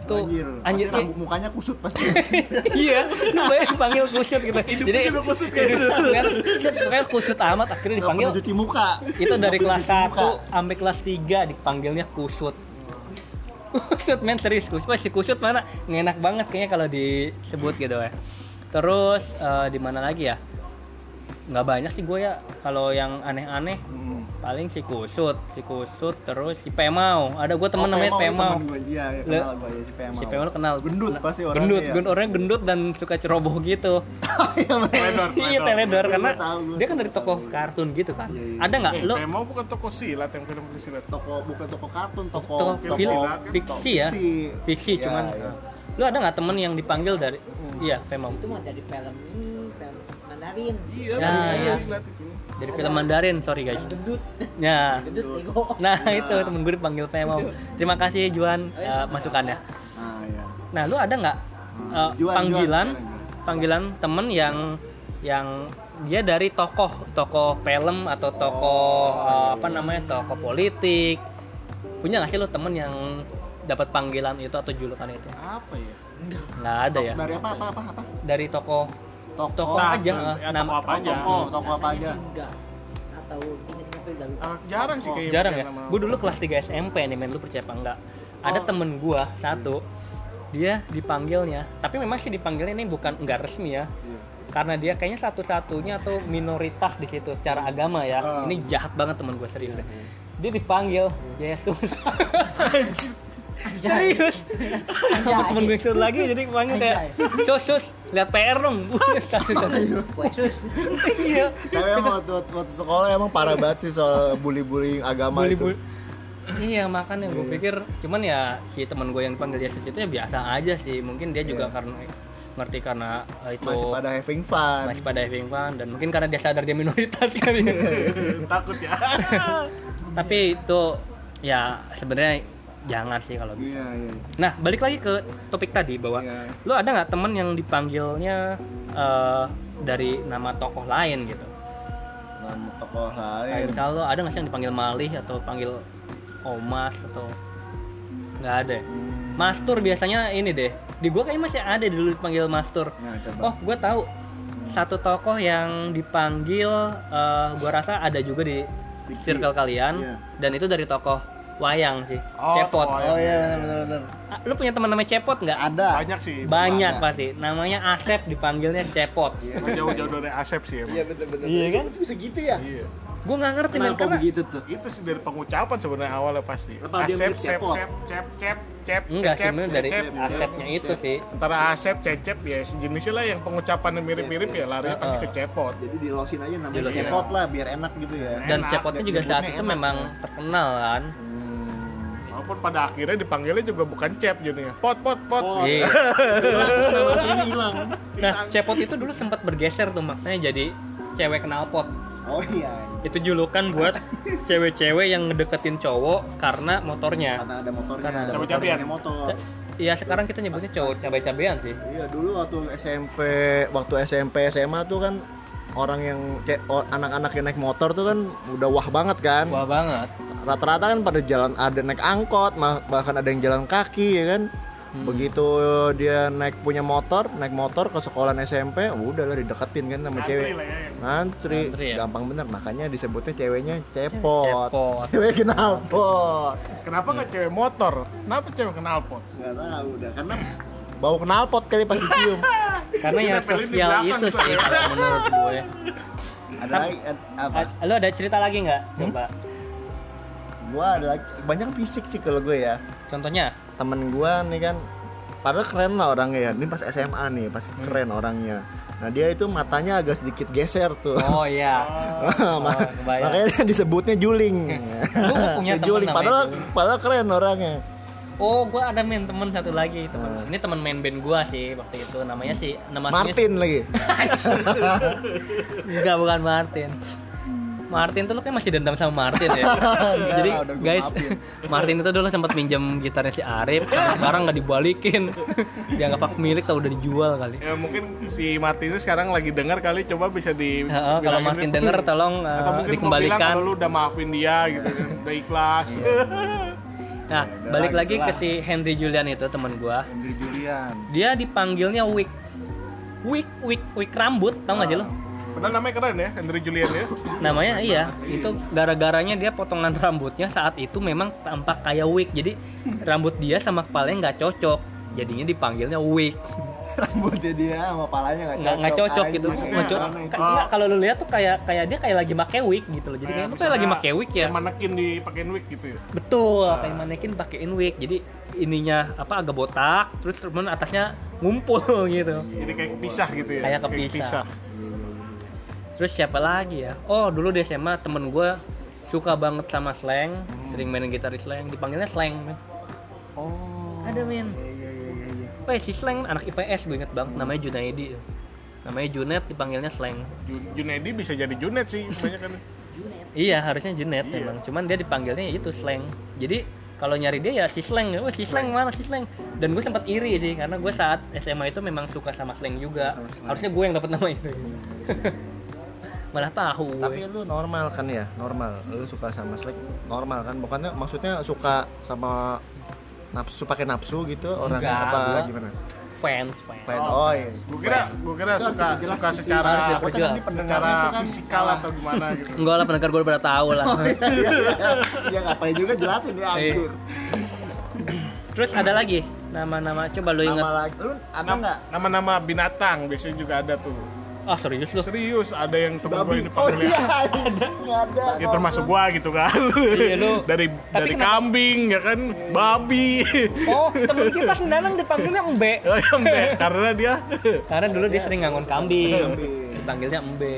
[SPEAKER 1] Itu
[SPEAKER 3] Anjir,
[SPEAKER 1] anjir.
[SPEAKER 3] pasti rambut mukanya kusut pasti.
[SPEAKER 1] iya, lu bayangin dipanggil Kusut gitu. Jadi
[SPEAKER 3] Hidupnya udah kusut kayak gitu.
[SPEAKER 1] kan, set, kayak kusut amat akhirnya
[SPEAKER 3] Nggak
[SPEAKER 1] dipanggil
[SPEAKER 3] pernah cuci muka.
[SPEAKER 1] itu dari
[SPEAKER 3] Nggak
[SPEAKER 1] kelas
[SPEAKER 3] pernah cuci muka.
[SPEAKER 1] 1 sampai kelas 3 dipanggilnya kusut kusut men serius kusut Wah, si kusut mana nggak enak banget kayaknya kalau disebut gitu ya terus eh, di mana lagi ya nggak banyak sih gue ya kalau yang aneh-aneh
[SPEAKER 3] Mm.
[SPEAKER 1] paling si kusut si kusut terus si pemau ada gue temen
[SPEAKER 3] Oh,
[SPEAKER 1] namanya pemau
[SPEAKER 3] temen gua. Iya, ya,
[SPEAKER 1] Le-
[SPEAKER 3] kenal gua ya si Pemau.
[SPEAKER 1] si pemau lu kenal
[SPEAKER 3] Gendut
[SPEAKER 1] Nah,
[SPEAKER 3] pasti orangnya
[SPEAKER 1] gendut
[SPEAKER 3] ya.
[SPEAKER 1] gendut orangnya gendut dan suka ceroboh gitu
[SPEAKER 3] Iya, bener.
[SPEAKER 2] Teledor,
[SPEAKER 1] iya
[SPEAKER 2] teledor.
[SPEAKER 1] teledor
[SPEAKER 3] Gua
[SPEAKER 1] karena
[SPEAKER 3] tahu, gua
[SPEAKER 1] dia kan dari
[SPEAKER 3] tahu.
[SPEAKER 1] tokoh kartun gitu kan
[SPEAKER 3] Iya, iya.
[SPEAKER 1] ada nggak
[SPEAKER 2] Eh,
[SPEAKER 1] lo
[SPEAKER 2] Pemau bukan toko silat yang film silat.
[SPEAKER 3] Toko bukan toko kartun, toko
[SPEAKER 1] Toko
[SPEAKER 3] toko
[SPEAKER 2] film,
[SPEAKER 1] fiksi ya?
[SPEAKER 3] fiksi.
[SPEAKER 1] fiksi
[SPEAKER 3] Iya,
[SPEAKER 1] cuman
[SPEAKER 3] iya.
[SPEAKER 1] lu ada nggak temen yang dipanggil dari
[SPEAKER 3] Hmm.
[SPEAKER 1] iya memang
[SPEAKER 4] itu mah dari film ini film Mandarin
[SPEAKER 2] Iya,
[SPEAKER 1] Ya,
[SPEAKER 2] bukan toko
[SPEAKER 1] iya.
[SPEAKER 2] silat itu.
[SPEAKER 1] dari film Mandarin sorry guys
[SPEAKER 4] gendut
[SPEAKER 1] ya
[SPEAKER 4] gendut nego
[SPEAKER 1] nah
[SPEAKER 3] Nah.
[SPEAKER 1] itu temen gue dipanggil Pemau terima kasih Juan
[SPEAKER 4] Oh, iya,
[SPEAKER 1] eh, masukannya
[SPEAKER 3] Ah, iya.
[SPEAKER 1] nah lu ada nggak
[SPEAKER 3] Hmm.
[SPEAKER 1] eh,
[SPEAKER 3] Juan,
[SPEAKER 1] panggilan
[SPEAKER 3] Juan sekarang.
[SPEAKER 1] panggilan temen yang yang dia dari tokoh tokoh film atau tokoh
[SPEAKER 3] Oh, iya,
[SPEAKER 1] eh, apa namanya tokoh politik punya nggak sih lu temen yang dapat panggilan itu atau julukan itu
[SPEAKER 3] apa ya?
[SPEAKER 1] nggak ada ya
[SPEAKER 3] Dari apa apa apa apa?
[SPEAKER 1] dari tokoh
[SPEAKER 3] Toko,
[SPEAKER 1] tokoh
[SPEAKER 2] Nah,
[SPEAKER 1] aja
[SPEAKER 2] ya,
[SPEAKER 1] eh,
[SPEAKER 2] tokoh
[SPEAKER 1] nama
[SPEAKER 2] apa aja?
[SPEAKER 3] toko, Oh, toko apa aja?
[SPEAKER 4] enggak Iya. atau ingat-ingat tuh udah lupa
[SPEAKER 2] Ah, jarang sih kayaknya.
[SPEAKER 1] jarang ya
[SPEAKER 2] nama-
[SPEAKER 1] gue dulu kelas 3 SMP nih men lu percaya apa enggak ada temen gue satu dia dipanggilnya tapi memang sih dipanggilnya ini bukan enggak resmi ya
[SPEAKER 3] Iya.
[SPEAKER 1] karena dia kayaknya satu-satunya atau minoritas di situ secara agama ya
[SPEAKER 3] Ah.
[SPEAKER 1] ini jahat banget temen gue serius deh. dia dipanggil Yesus serius sama temen gue yang satu lagi jadi dipanggil kayak sus sus lihat PR dong Sus, sus.
[SPEAKER 4] Yesus
[SPEAKER 1] iya
[SPEAKER 3] Tapi emang waktu, waktu- waktu sekolah emang parah banget sih soal bully-bullying agama
[SPEAKER 1] Bully,
[SPEAKER 3] itu.
[SPEAKER 1] bully. Iya makanya gue pikir cuman ya si teman gue yang dipanggil Yesus itu ya biasa aja sih mungkin dia juga
[SPEAKER 3] Iya.
[SPEAKER 1] karena ngerti karena eh, itu
[SPEAKER 3] Masih pada having fun.
[SPEAKER 1] masih pada having fun dan mungkin karena dia sadar dia minoritas kali ya.
[SPEAKER 2] takut ya.
[SPEAKER 1] tapi itu ya sebenarnya jangan sih kalau bisa.
[SPEAKER 3] Iya, iya.
[SPEAKER 1] Nah balik lagi ke topik tadi bahwa
[SPEAKER 3] Iya.
[SPEAKER 1] lo ada nggak temen yang dipanggilnya eh, dari nama tokoh lain gitu?
[SPEAKER 3] Nama tokoh
[SPEAKER 1] Kayak
[SPEAKER 3] lain.
[SPEAKER 1] misal lo ada nggak sih yang dipanggil Malih atau panggil Omas atau nggak ada? ya?
[SPEAKER 3] Hmm.
[SPEAKER 1] Mastur biasanya ini deh. Di gua kayaknya masih ada dulu dipanggil Mastur.
[SPEAKER 3] Nah, coba.
[SPEAKER 1] Oh, gua tahu satu tokoh yang dipanggil eh, gua rasa ada juga di
[SPEAKER 3] Diki.
[SPEAKER 1] circle kalian
[SPEAKER 3] Iya.
[SPEAKER 1] dan itu dari tokoh wayang sih.
[SPEAKER 2] Oh,
[SPEAKER 1] Cepot.
[SPEAKER 2] tokoh
[SPEAKER 3] Oh iya benar benar benar.
[SPEAKER 1] Ah, Lu punya teman namanya Cepot nggak?
[SPEAKER 3] Ada.
[SPEAKER 2] Banyak sih.
[SPEAKER 1] Banyak
[SPEAKER 3] Ada.
[SPEAKER 1] pasti. Namanya Asep dipanggilnya Cepot.
[SPEAKER 3] Iya.
[SPEAKER 2] Nggak Jauh-jauh dari Asep sih emang.
[SPEAKER 3] benar benar.
[SPEAKER 1] Iya kan?
[SPEAKER 3] Itu bisa gitu ya?
[SPEAKER 2] Iya.
[SPEAKER 1] Gua nggak ngerti men
[SPEAKER 3] Kenapa
[SPEAKER 1] karena
[SPEAKER 3] begitu tuh?
[SPEAKER 2] Itu sih dari pengucapan sebenarnya awalnya pasti.
[SPEAKER 3] Apa dia
[SPEAKER 2] Asep,
[SPEAKER 3] mirip
[SPEAKER 2] cep,
[SPEAKER 3] cepot?
[SPEAKER 2] cep, cep, cep, cep,
[SPEAKER 1] enggak sih
[SPEAKER 2] cecep,
[SPEAKER 1] men dari
[SPEAKER 2] cecep.
[SPEAKER 1] Asepnya itu sih.
[SPEAKER 2] Antara Asep, cecep ya sejenisnya lah yang pengucapannya mirip-mirip ya larinya pasti ke
[SPEAKER 1] Heeh.
[SPEAKER 2] cepot.
[SPEAKER 3] Jadi dilosin aja namanya
[SPEAKER 1] Dilosin
[SPEAKER 3] cepot lah biar enak gitu ya.
[SPEAKER 1] Dan
[SPEAKER 2] Enak,
[SPEAKER 1] Cepotnya
[SPEAKER 3] dan
[SPEAKER 1] juga saat
[SPEAKER 3] nyebutnya
[SPEAKER 1] itu
[SPEAKER 3] enak,
[SPEAKER 1] memang
[SPEAKER 3] ya.
[SPEAKER 1] terkenal kan.
[SPEAKER 3] Hmm.
[SPEAKER 2] Walaupun pada akhirnya dipanggilnya juga bukan cep jadinya. Pot, pot, pot.
[SPEAKER 3] Pot. Oh.
[SPEAKER 1] Iya.
[SPEAKER 3] Nama sini hilang.
[SPEAKER 1] Nah, cepot itu dulu sempat bergeser tuh maknanya jadi cewek knalpot.
[SPEAKER 3] Oh iya.
[SPEAKER 1] Itu julukan buat cewek-cewek yang ngedeketin cowok karena motornya.
[SPEAKER 3] Karena ada motornya.
[SPEAKER 1] Karena ada
[SPEAKER 3] motor,
[SPEAKER 2] motornya.
[SPEAKER 3] punya motor.
[SPEAKER 1] Ce- Iya, sekarang kita nyebutnya cowok cabai-cabean sih.
[SPEAKER 3] Iya dulu waktu SMP, waktu SMP SMA tuh kan orang yang ce- o- anak-anak yang naik motor tuh kan udah wah banget kan.
[SPEAKER 1] Wah banget.
[SPEAKER 3] Rata-rata kan pada jalan ada naik angkot, ma- bahkan ada yang jalan kaki ya kan.
[SPEAKER 1] Hmm.
[SPEAKER 3] Begitu dia naik punya motor, naik motor ke sekolah SMP, udahlah dideketin kan sama
[SPEAKER 2] Antri
[SPEAKER 3] cewek.
[SPEAKER 2] lah ya. yang-
[SPEAKER 3] Ngantri,
[SPEAKER 1] Ngantri ya?
[SPEAKER 3] gampang bener makanya disebutnya ceweknya cepot.
[SPEAKER 1] Cepot.
[SPEAKER 3] Cewek kenalpot.
[SPEAKER 2] Kenapa nggak cewek motor? Kenapa cewek kenal pot?
[SPEAKER 3] Enggak tahu udah karena bau knalpot kali pas dicium.
[SPEAKER 1] Karena ya
[SPEAKER 2] Ditempelin di
[SPEAKER 1] sosial
[SPEAKER 2] belakang
[SPEAKER 1] itu sih
[SPEAKER 2] soalnya.
[SPEAKER 1] kalau menurut gue.
[SPEAKER 3] ada lagi ad- apa?
[SPEAKER 1] A- Lu ada cerita lagi nggak? Coba.
[SPEAKER 3] Gua ada lagi banyak fisik sih kalau gue ya.
[SPEAKER 1] Contohnya?
[SPEAKER 3] Temen gua nih kan padahal keren lah orangnya ya. Ini pas SMA nih, pas
[SPEAKER 1] Hmm.
[SPEAKER 3] keren orangnya. Nah, dia itu matanya agak sedikit geser tuh.
[SPEAKER 1] Oh iya.
[SPEAKER 3] Ma-
[SPEAKER 1] Oh, kebayang.
[SPEAKER 3] makanya dia disebutnya juling.
[SPEAKER 1] Lu punya
[SPEAKER 3] Si
[SPEAKER 1] temen
[SPEAKER 3] juling.
[SPEAKER 1] namanya
[SPEAKER 3] Padahal
[SPEAKER 1] juling.
[SPEAKER 3] padahal keren orangnya.
[SPEAKER 1] Oh, gua ada main temen satu lagi temen.
[SPEAKER 3] Hmm.
[SPEAKER 1] Ini temen main band gua sih waktu itu namanya sih nama aslinya
[SPEAKER 3] Martin lagi.
[SPEAKER 1] Enggak bukan Martin. Martin tuh lo kayak masih dendam sama Martin ya. Jadi
[SPEAKER 3] Udah, udah gua
[SPEAKER 1] guys,
[SPEAKER 3] maafin.
[SPEAKER 1] Martin itu dulu sempat minjem gitarnya si Arif, sampai sekarang nggak dibalikin. Dianggap hak milik tau udah dijual kali.
[SPEAKER 2] Ya mungkin si Martin itu sekarang lagi dengar kali coba bisa
[SPEAKER 1] Heeh,
[SPEAKER 2] di
[SPEAKER 1] kalau
[SPEAKER 2] bilangin
[SPEAKER 1] Martin
[SPEAKER 2] dia.
[SPEAKER 1] denger tolong eh,
[SPEAKER 2] atau mungkin mau bilang
[SPEAKER 1] dikembalikan.
[SPEAKER 2] kalau lu udah maafin dia gitu kan, udah ikhlas.
[SPEAKER 1] Nah,
[SPEAKER 3] Udah
[SPEAKER 1] balik
[SPEAKER 3] lah,
[SPEAKER 1] lagi
[SPEAKER 3] gitu
[SPEAKER 1] ke
[SPEAKER 3] lah.
[SPEAKER 1] si Henry Julian itu teman gua.
[SPEAKER 3] Henry Julian.
[SPEAKER 1] Dia dipanggilnya Wick. Wick, Wick, Wick rambut, tau gak sih lo?
[SPEAKER 2] Padahal namanya keren ya, Henry Julian ya.
[SPEAKER 1] Namanya iya, itu gara-garanya dia potongan rambutnya saat itu memang tampak kayak wig. Jadi rambut dia sama kepalanya nggak cocok. Jadinya dipanggilnya wig.
[SPEAKER 3] Rambutnya dia sama palanya nggak
[SPEAKER 1] Nggak
[SPEAKER 3] cocok. Oh.
[SPEAKER 1] nggak cocok gitu.
[SPEAKER 2] maksudnya
[SPEAKER 1] Nggak cocok.
[SPEAKER 2] aneh.
[SPEAKER 1] Ka- nggak, kalau lu lihat tuh kayak kayak dia kayak lagi pakai wig gitu loh. Jadi kayak
[SPEAKER 2] Kayak
[SPEAKER 1] lu kayak lagi
[SPEAKER 2] misalnya
[SPEAKER 1] pakai wig ya.
[SPEAKER 2] Yang manekin dipakein wig gitu ya.
[SPEAKER 1] Betul, kayak manekin pakein wig. Jadi ininya apa agak botak, terus kemudian atasnya ngumpul gitu.
[SPEAKER 2] Jadi kayak pisah gitu ya.
[SPEAKER 1] Kayak kepisah. Terus siapa lagi ya? Oh dulu di SMA temen gue suka banget sama slang, sering main gitar di slang, dipanggilnya slang. men.
[SPEAKER 3] Oh.
[SPEAKER 1] Ada, Min.
[SPEAKER 3] Iya iya iya iya.
[SPEAKER 1] Weh si slang anak IPS gue inget banget, namanya Junaidi. Namanya Junet dipanggilnya slang.
[SPEAKER 2] Ju- Junedi bisa jadi Junet sih banyak kan.
[SPEAKER 1] Iya harusnya Junet
[SPEAKER 2] Iya.
[SPEAKER 1] memang, cuman dia dipanggilnya ya itu slang. Jadi kalau nyari dia ya si slang, wah si slang mana si slang. Dan gue sempat iri sih karena gue saat SMA itu memang suka sama Iya. slang juga. Harusnya gue yang dapat nama itu. Malah tahu. gue.
[SPEAKER 3] Tapi lu normal kan ya? Normal. Lu suka sama Slack normal kan? Bukannya maksudnya suka sama nafsu pakai nafsu gitu orang
[SPEAKER 1] Enggak,
[SPEAKER 3] apa
[SPEAKER 1] gua-
[SPEAKER 3] gimana?
[SPEAKER 1] fans fans.
[SPEAKER 3] Fan oh, iya.
[SPEAKER 2] Gue kira gue kira
[SPEAKER 3] Itu harus
[SPEAKER 2] suka
[SPEAKER 3] diperjelas
[SPEAKER 2] suka
[SPEAKER 3] di sini.
[SPEAKER 2] secara
[SPEAKER 1] Harus
[SPEAKER 3] Aku kan ini pendengar
[SPEAKER 2] secara
[SPEAKER 3] itu kan
[SPEAKER 2] fisikal atau gimana gitu.
[SPEAKER 1] Enggak lah pendengar gue udah tahu lah.
[SPEAKER 3] Iya, iya. ya ngapain juga jelasin
[SPEAKER 1] Eh,
[SPEAKER 3] ya anjir.
[SPEAKER 1] Terus ada lagi nama-nama coba lu
[SPEAKER 3] Nama
[SPEAKER 1] ingat.
[SPEAKER 3] lagi lu ada
[SPEAKER 2] Nam-
[SPEAKER 3] enggak?
[SPEAKER 2] Nama-nama binatang biasanya juga ada tuh.
[SPEAKER 1] Ah serius lu.
[SPEAKER 2] Serius ada yang temen gue
[SPEAKER 3] Babi.
[SPEAKER 2] ini
[SPEAKER 3] Oh
[SPEAKER 2] panggilnya.
[SPEAKER 3] iya, enggak ada.
[SPEAKER 2] Ya termasuk gua gitu kan.
[SPEAKER 1] Iya, lu-
[SPEAKER 2] dari dari
[SPEAKER 1] kenapa-
[SPEAKER 2] kambing ya kan, babi.
[SPEAKER 1] Oh, temen kita sendanang dipanggilnya Embe.
[SPEAKER 2] Embe, Karena dia
[SPEAKER 1] Karena dulu dia sering ngangon kambing.
[SPEAKER 3] Iya. Kambing.
[SPEAKER 1] Dipanggilnya Embe.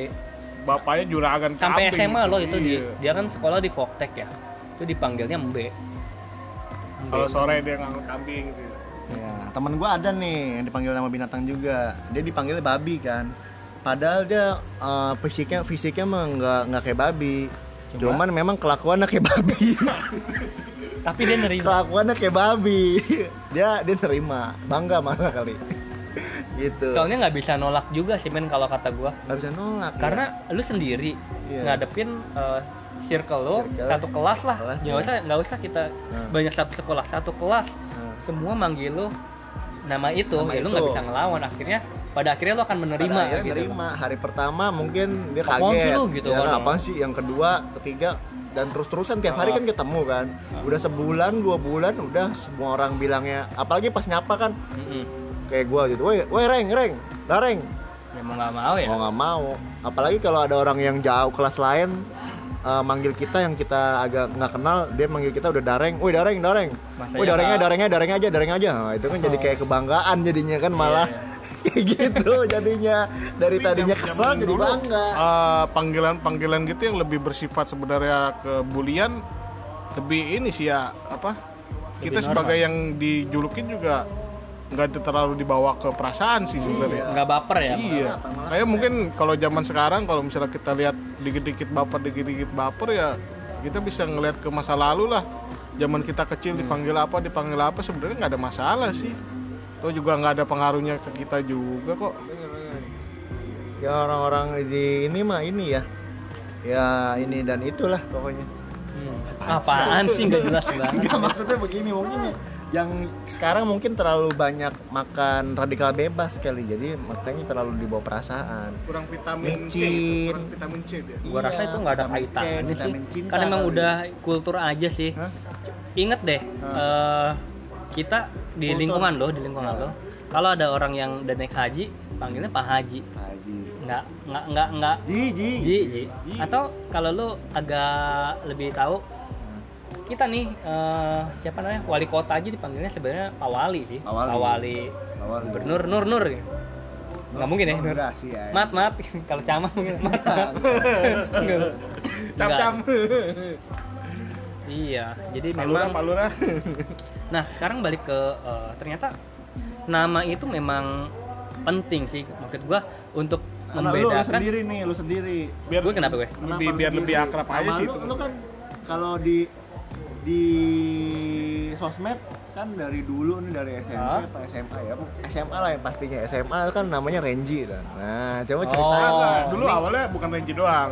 [SPEAKER 2] bapaknya juragan
[SPEAKER 1] Sampai
[SPEAKER 2] kambing.
[SPEAKER 1] SMA loh itu di,
[SPEAKER 2] Iya.
[SPEAKER 1] dia kan sekolah di Voktek ya. Itu dipanggilnya Embe. Embe.
[SPEAKER 2] Kalau sore dia ngangkut kambing sih.
[SPEAKER 3] Ya, temen gua ada nih yang dipanggil nama binatang juga. Dia dipanggil babi kan. Padahal dia eh, fisiknya fisiknya emang nggak nggak kayak babi. Cuman memang kelakuannya kayak babi.
[SPEAKER 1] Tapi dia nerima.
[SPEAKER 3] kelakuannya kayak babi. Dia dia terima, bangga malah kali. Gitu.
[SPEAKER 1] Soalnya nggak bisa nolak juga sih men kalau kata gua.
[SPEAKER 3] Gak bisa nolak. ya.
[SPEAKER 1] Karena lu sendiri
[SPEAKER 3] Iya.
[SPEAKER 1] ngadepin eh, circle lu
[SPEAKER 3] Circle.
[SPEAKER 1] satu kelas lah.
[SPEAKER 3] Kelas,
[SPEAKER 1] Nggak
[SPEAKER 3] iya.
[SPEAKER 1] usah nggak usah kita
[SPEAKER 3] Hmm.
[SPEAKER 1] banyak satu sekolah, satu kelas.
[SPEAKER 3] Nah,
[SPEAKER 1] semua manggil lu nama itu,
[SPEAKER 3] Nama
[SPEAKER 1] ya lu
[SPEAKER 3] itu.
[SPEAKER 1] nggak bisa ngelawan akhirnya pada akhirnya lu akan menerima
[SPEAKER 3] pada akhirnya
[SPEAKER 1] gitu.
[SPEAKER 3] nerima. Hari pertama mungkin dia
[SPEAKER 1] Apaan sih
[SPEAKER 3] kaget.
[SPEAKER 1] lu gitu
[SPEAKER 3] ya,
[SPEAKER 1] kan?
[SPEAKER 3] apaan sih? Yang kedua, ketiga dan terus-terusan
[SPEAKER 1] Ah.
[SPEAKER 3] tiap hari kan ketemu kan. Udah sebulan, dua bulan udah semua orang bilangnya apalagi pas nyapa kan
[SPEAKER 1] Mm-mm.
[SPEAKER 3] kayak gua gitu. Woi, woi reng, reng. Lah reng.
[SPEAKER 1] Ya mau nggak mau ya.
[SPEAKER 3] Mau nggak mau. Apalagi kalau ada orang yang jauh kelas lain eh, manggil kita yang kita agak nggak kenal dia manggil kita udah dareng, woi dareng dareng,
[SPEAKER 1] Masanya
[SPEAKER 3] woi darengnya
[SPEAKER 1] nggak-
[SPEAKER 3] darengnya dareng aja dareng aja, Nah, itu kan jadi
[SPEAKER 1] Oh.
[SPEAKER 3] kayak kebanggaan jadinya kan malah
[SPEAKER 1] Iya,
[SPEAKER 3] kayak gitu jadinya dari tadinya kesel jadi bangga
[SPEAKER 2] Eh, panggilan-panggilan gitu yang lebih bersifat sebenarnya kebulian lebih ini sih ya apa
[SPEAKER 1] Lebih
[SPEAKER 2] kita
[SPEAKER 1] normal.
[SPEAKER 2] sebagai yang dijulukin juga nggak terlalu dibawa ke perasaan
[SPEAKER 3] Iya.
[SPEAKER 2] sih sebenarnya.
[SPEAKER 1] Nggak baper ya.
[SPEAKER 2] Iya. Kayak mungkin kalau zaman sekarang kalau misalnya kita lihat dikit-dikit baper, dikit-dikit baper ya kita bisa ngelihat ke masa lalu lah. Zaman kita
[SPEAKER 1] Hmm.
[SPEAKER 2] kecil dipanggil apa, dipanggil apa sebenarnya nggak ada masalah sih. Itu juga nggak ada pengaruhnya ke kita juga kok.
[SPEAKER 3] ya orang-orang di ini mah ini ya ya ini dan itulah pokoknya
[SPEAKER 1] Hmm. Apaan sih nggak jelas
[SPEAKER 3] Iya.
[SPEAKER 1] banget.
[SPEAKER 3] Enggak maksudnya begini mungkin ya. yang sekarang mungkin terlalu banyak makan radikal bebas kali jadi makanya terlalu dibawa perasaan
[SPEAKER 2] Kurang
[SPEAKER 3] vitamin C gitu, kurang
[SPEAKER 2] vitamin C dia.
[SPEAKER 1] Gua
[SPEAKER 3] Iya,
[SPEAKER 1] rasa itu nggak ada
[SPEAKER 3] vitamin C,
[SPEAKER 1] kaitannya sih.
[SPEAKER 3] vitamin cinta
[SPEAKER 1] Karena emang
[SPEAKER 3] kali.
[SPEAKER 1] udah kultur aja sih.
[SPEAKER 3] Hah?
[SPEAKER 1] Ingat deh eh, kita di
[SPEAKER 3] Kultur.
[SPEAKER 1] lingkungan loh, di lingkungan lo. Kalau ada orang yang udah naik haji, panggilnya Pak Haji.
[SPEAKER 3] Haji
[SPEAKER 1] Nggak nggak nggak nggak
[SPEAKER 3] Ji Ji
[SPEAKER 1] Ji, Ji. Atau kalau lu agak lebih tahu kita nih eh, siapa namanya wali kota aja dipanggilnya sebenarnya Pak Wali sih.
[SPEAKER 3] Pak Wali.
[SPEAKER 1] Pak Wali.
[SPEAKER 3] Awal
[SPEAKER 1] Gubernur Nur Nur. Nggak mungkin ya. Nur.
[SPEAKER 3] Enggak sih ya
[SPEAKER 1] Mat mat kalau camat mungkin mat.
[SPEAKER 2] Iya,
[SPEAKER 1] Nggak.
[SPEAKER 2] Cap-cap.
[SPEAKER 1] Iya, jadi
[SPEAKER 2] Pak Lurah,
[SPEAKER 1] memang
[SPEAKER 2] Pak Lurah.
[SPEAKER 1] Nah, sekarang balik ke eh, ternyata nama itu memang penting sih maksud gua untuk
[SPEAKER 3] Karena lu, lu
[SPEAKER 1] Membedakan.
[SPEAKER 3] sendiri nih, lu sendiri.
[SPEAKER 2] biar
[SPEAKER 1] Gue kenapa gue?
[SPEAKER 2] lebih
[SPEAKER 3] Kenapa lu
[SPEAKER 2] biar lebih
[SPEAKER 3] sendiri?
[SPEAKER 2] akrab aja
[SPEAKER 3] Sama
[SPEAKER 2] sih
[SPEAKER 3] Lu,
[SPEAKER 2] itu.
[SPEAKER 3] lu kan kalau di di sosmed kan dari dulu nih dari SMP
[SPEAKER 1] Hah?
[SPEAKER 3] apa SMA ya SMA lah yang pastinya SMA kan namanya Renji kan nah coba
[SPEAKER 1] Oh.
[SPEAKER 3] ceritain lah
[SPEAKER 2] Nah, dulu awalnya bukan Renji doang.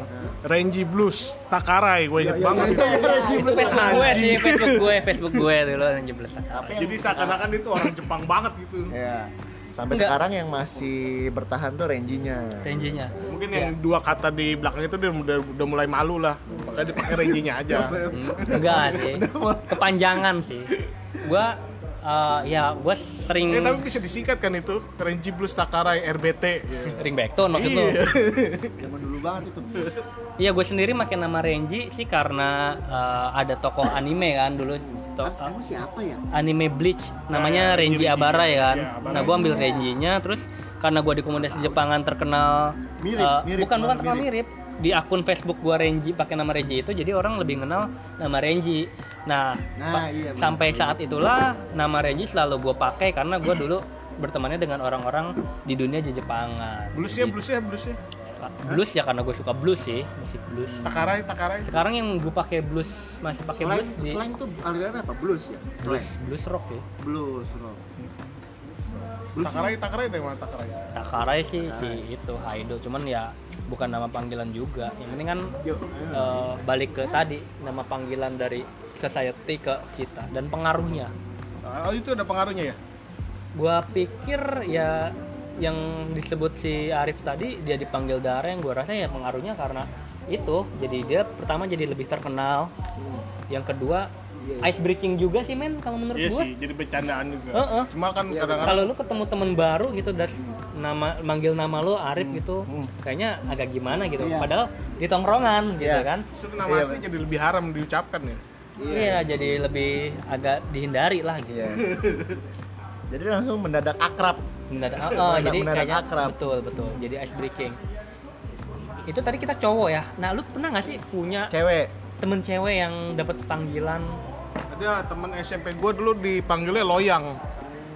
[SPEAKER 2] Renji Blues, Takarai gue inget banget. itu.
[SPEAKER 1] ya.
[SPEAKER 2] iya,
[SPEAKER 1] Itu Facebook gue sih, Facebook gue, Facebook gue dulu yang jeblesan.
[SPEAKER 3] Apa yang
[SPEAKER 2] Jadi seakan-akan itu orang Jepang banget gitu.
[SPEAKER 3] ya sampai
[SPEAKER 1] Enggak.
[SPEAKER 3] sekarang yang masih bertahan tuh Renjinya
[SPEAKER 1] Renjinya.
[SPEAKER 2] Mungkin
[SPEAKER 1] Ya.
[SPEAKER 2] yang dua kata di belakang itu dia udah, udah mulai malu lah. Makanya dipakai Renjinya aja.
[SPEAKER 1] Hmm, enggak sih. Kepanjangan sih. Gua eh, ya gue sering
[SPEAKER 2] Eh, tapi bisa disingkat kan itu Renji Blues Takarai RBT. Iya.
[SPEAKER 1] ring backton maksud lu.
[SPEAKER 2] Iya.
[SPEAKER 3] zaman dulu banget itu
[SPEAKER 1] Iya, gue sendiri pakai nama Renji sih karena eh, ada tokoh anime kan dulu to-
[SPEAKER 4] Em- Emang siapa ya?
[SPEAKER 1] anime Bleach
[SPEAKER 3] Ah,
[SPEAKER 1] namanya
[SPEAKER 2] Nah,
[SPEAKER 3] iya,
[SPEAKER 1] Renji
[SPEAKER 2] Renji.
[SPEAKER 1] Abara ya kan.
[SPEAKER 2] Iya, Abara.
[SPEAKER 1] Nah, gue ambil Renjinya terus karena gue di komunitas Jepangan terkenal
[SPEAKER 3] Mirip,
[SPEAKER 1] eh,
[SPEAKER 3] mirip,
[SPEAKER 1] bukan bukan
[SPEAKER 3] mirip.
[SPEAKER 1] terkenal mirip di akun Facebook gue Renji pakai nama Renji itu jadi orang lebih kenal nama Renji. Nah, pa-
[SPEAKER 3] nah iya bener.
[SPEAKER 1] sampai saat itulah nama Renji selalu gue pakai karena gue dulu bertemannya dengan orang-orang di dunia Jepangan.
[SPEAKER 2] Bluesnya,
[SPEAKER 3] ya,
[SPEAKER 1] Jadi,
[SPEAKER 2] bluesnya, bluesnya.
[SPEAKER 1] blues ya karena gue suka blues sih musik blues.
[SPEAKER 2] Takarai, Takarai.
[SPEAKER 1] Sekarang yang gue pakai blues masih pakai
[SPEAKER 3] slang,
[SPEAKER 1] blues di
[SPEAKER 3] slang tuh aliran apa blues ya
[SPEAKER 1] blues
[SPEAKER 3] slang
[SPEAKER 1] blues rock ya.
[SPEAKER 3] blues rock blues
[SPEAKER 2] Takarai, Takarai dari mana Takarai?
[SPEAKER 1] Takarai sih si itu Haido cuman ya bukan nama panggilan juga yang penting kan
[SPEAKER 3] Yo,
[SPEAKER 1] eh, balik ke tadi nama panggilan dari society ke kita dan pengaruhnya
[SPEAKER 2] Oh, itu ada pengaruhnya ya?
[SPEAKER 1] gua pikir ya yang disebut si Arif tadi dia dipanggil Dara yang gua rasa ya pengaruhnya karena itu jadi dia pertama jadi lebih terkenal yang kedua ice breaking juga sih men kalau menurut
[SPEAKER 2] Iya
[SPEAKER 1] gua
[SPEAKER 2] sih, jadi bercandaan juga.
[SPEAKER 1] Heeh.
[SPEAKER 2] Cuma kan
[SPEAKER 3] Iya,
[SPEAKER 2] kadang-kadang
[SPEAKER 1] kalau lu ketemu temen baru gitu dan nama manggil nama lu Arif gitu
[SPEAKER 3] Hmm.
[SPEAKER 1] kayaknya agak gimana gitu
[SPEAKER 3] Iya.
[SPEAKER 1] padahal di tongkrongan gitu
[SPEAKER 3] Iya.
[SPEAKER 1] kan
[SPEAKER 2] Justru nama
[SPEAKER 3] Iya,
[SPEAKER 2] asli jadi lebih haram diucapkan ya.
[SPEAKER 1] iya jadi lebih agak dihindari lah gitu
[SPEAKER 3] Iya. Jadi langsung mendadak akrab.
[SPEAKER 1] mendadak ah, ah,
[SPEAKER 3] Mendadak-
[SPEAKER 1] jadi
[SPEAKER 3] mendadak
[SPEAKER 1] kayaknya
[SPEAKER 3] akrab.
[SPEAKER 1] betul betul jadi ice breaking itu tadi kita cowok ya nah lu pernah nggak sih punya
[SPEAKER 3] Cewek.
[SPEAKER 1] temen cewek yang dapat panggilan
[SPEAKER 2] Ada teman SMP gue dulu dipanggilnya loyang,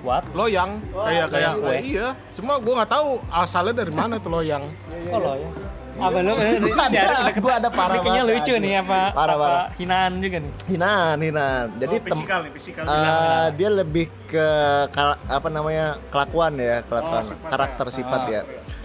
[SPEAKER 1] what
[SPEAKER 2] loyang
[SPEAKER 3] Oh,
[SPEAKER 2] kayak
[SPEAKER 1] loyang
[SPEAKER 2] kayak gue.
[SPEAKER 1] gue.
[SPEAKER 2] Iya, cuma gue nggak tahu asalnya dari mana tuh loyang.
[SPEAKER 3] Iya,
[SPEAKER 1] kok lo ya apa lu ini
[SPEAKER 3] Gua ada-
[SPEAKER 1] siaran udah
[SPEAKER 3] gua
[SPEAKER 1] ketat.
[SPEAKER 3] ada parah
[SPEAKER 1] Ini kayaknya
[SPEAKER 3] banget
[SPEAKER 1] lucu
[SPEAKER 3] tadi.
[SPEAKER 1] nih apa
[SPEAKER 3] Parah,
[SPEAKER 1] apa
[SPEAKER 3] parah.
[SPEAKER 1] hinaan juga nih
[SPEAKER 3] Hinaan, hinaan. Jadi
[SPEAKER 2] oh,
[SPEAKER 3] tem
[SPEAKER 2] fisikal nih, fisikal.
[SPEAKER 3] eh, dia lebih ke kal- apa namanya kelakuan ya, kelakuan,
[SPEAKER 2] Oh, sifatnya.
[SPEAKER 3] karakter sifat
[SPEAKER 1] Ah.
[SPEAKER 3] ya.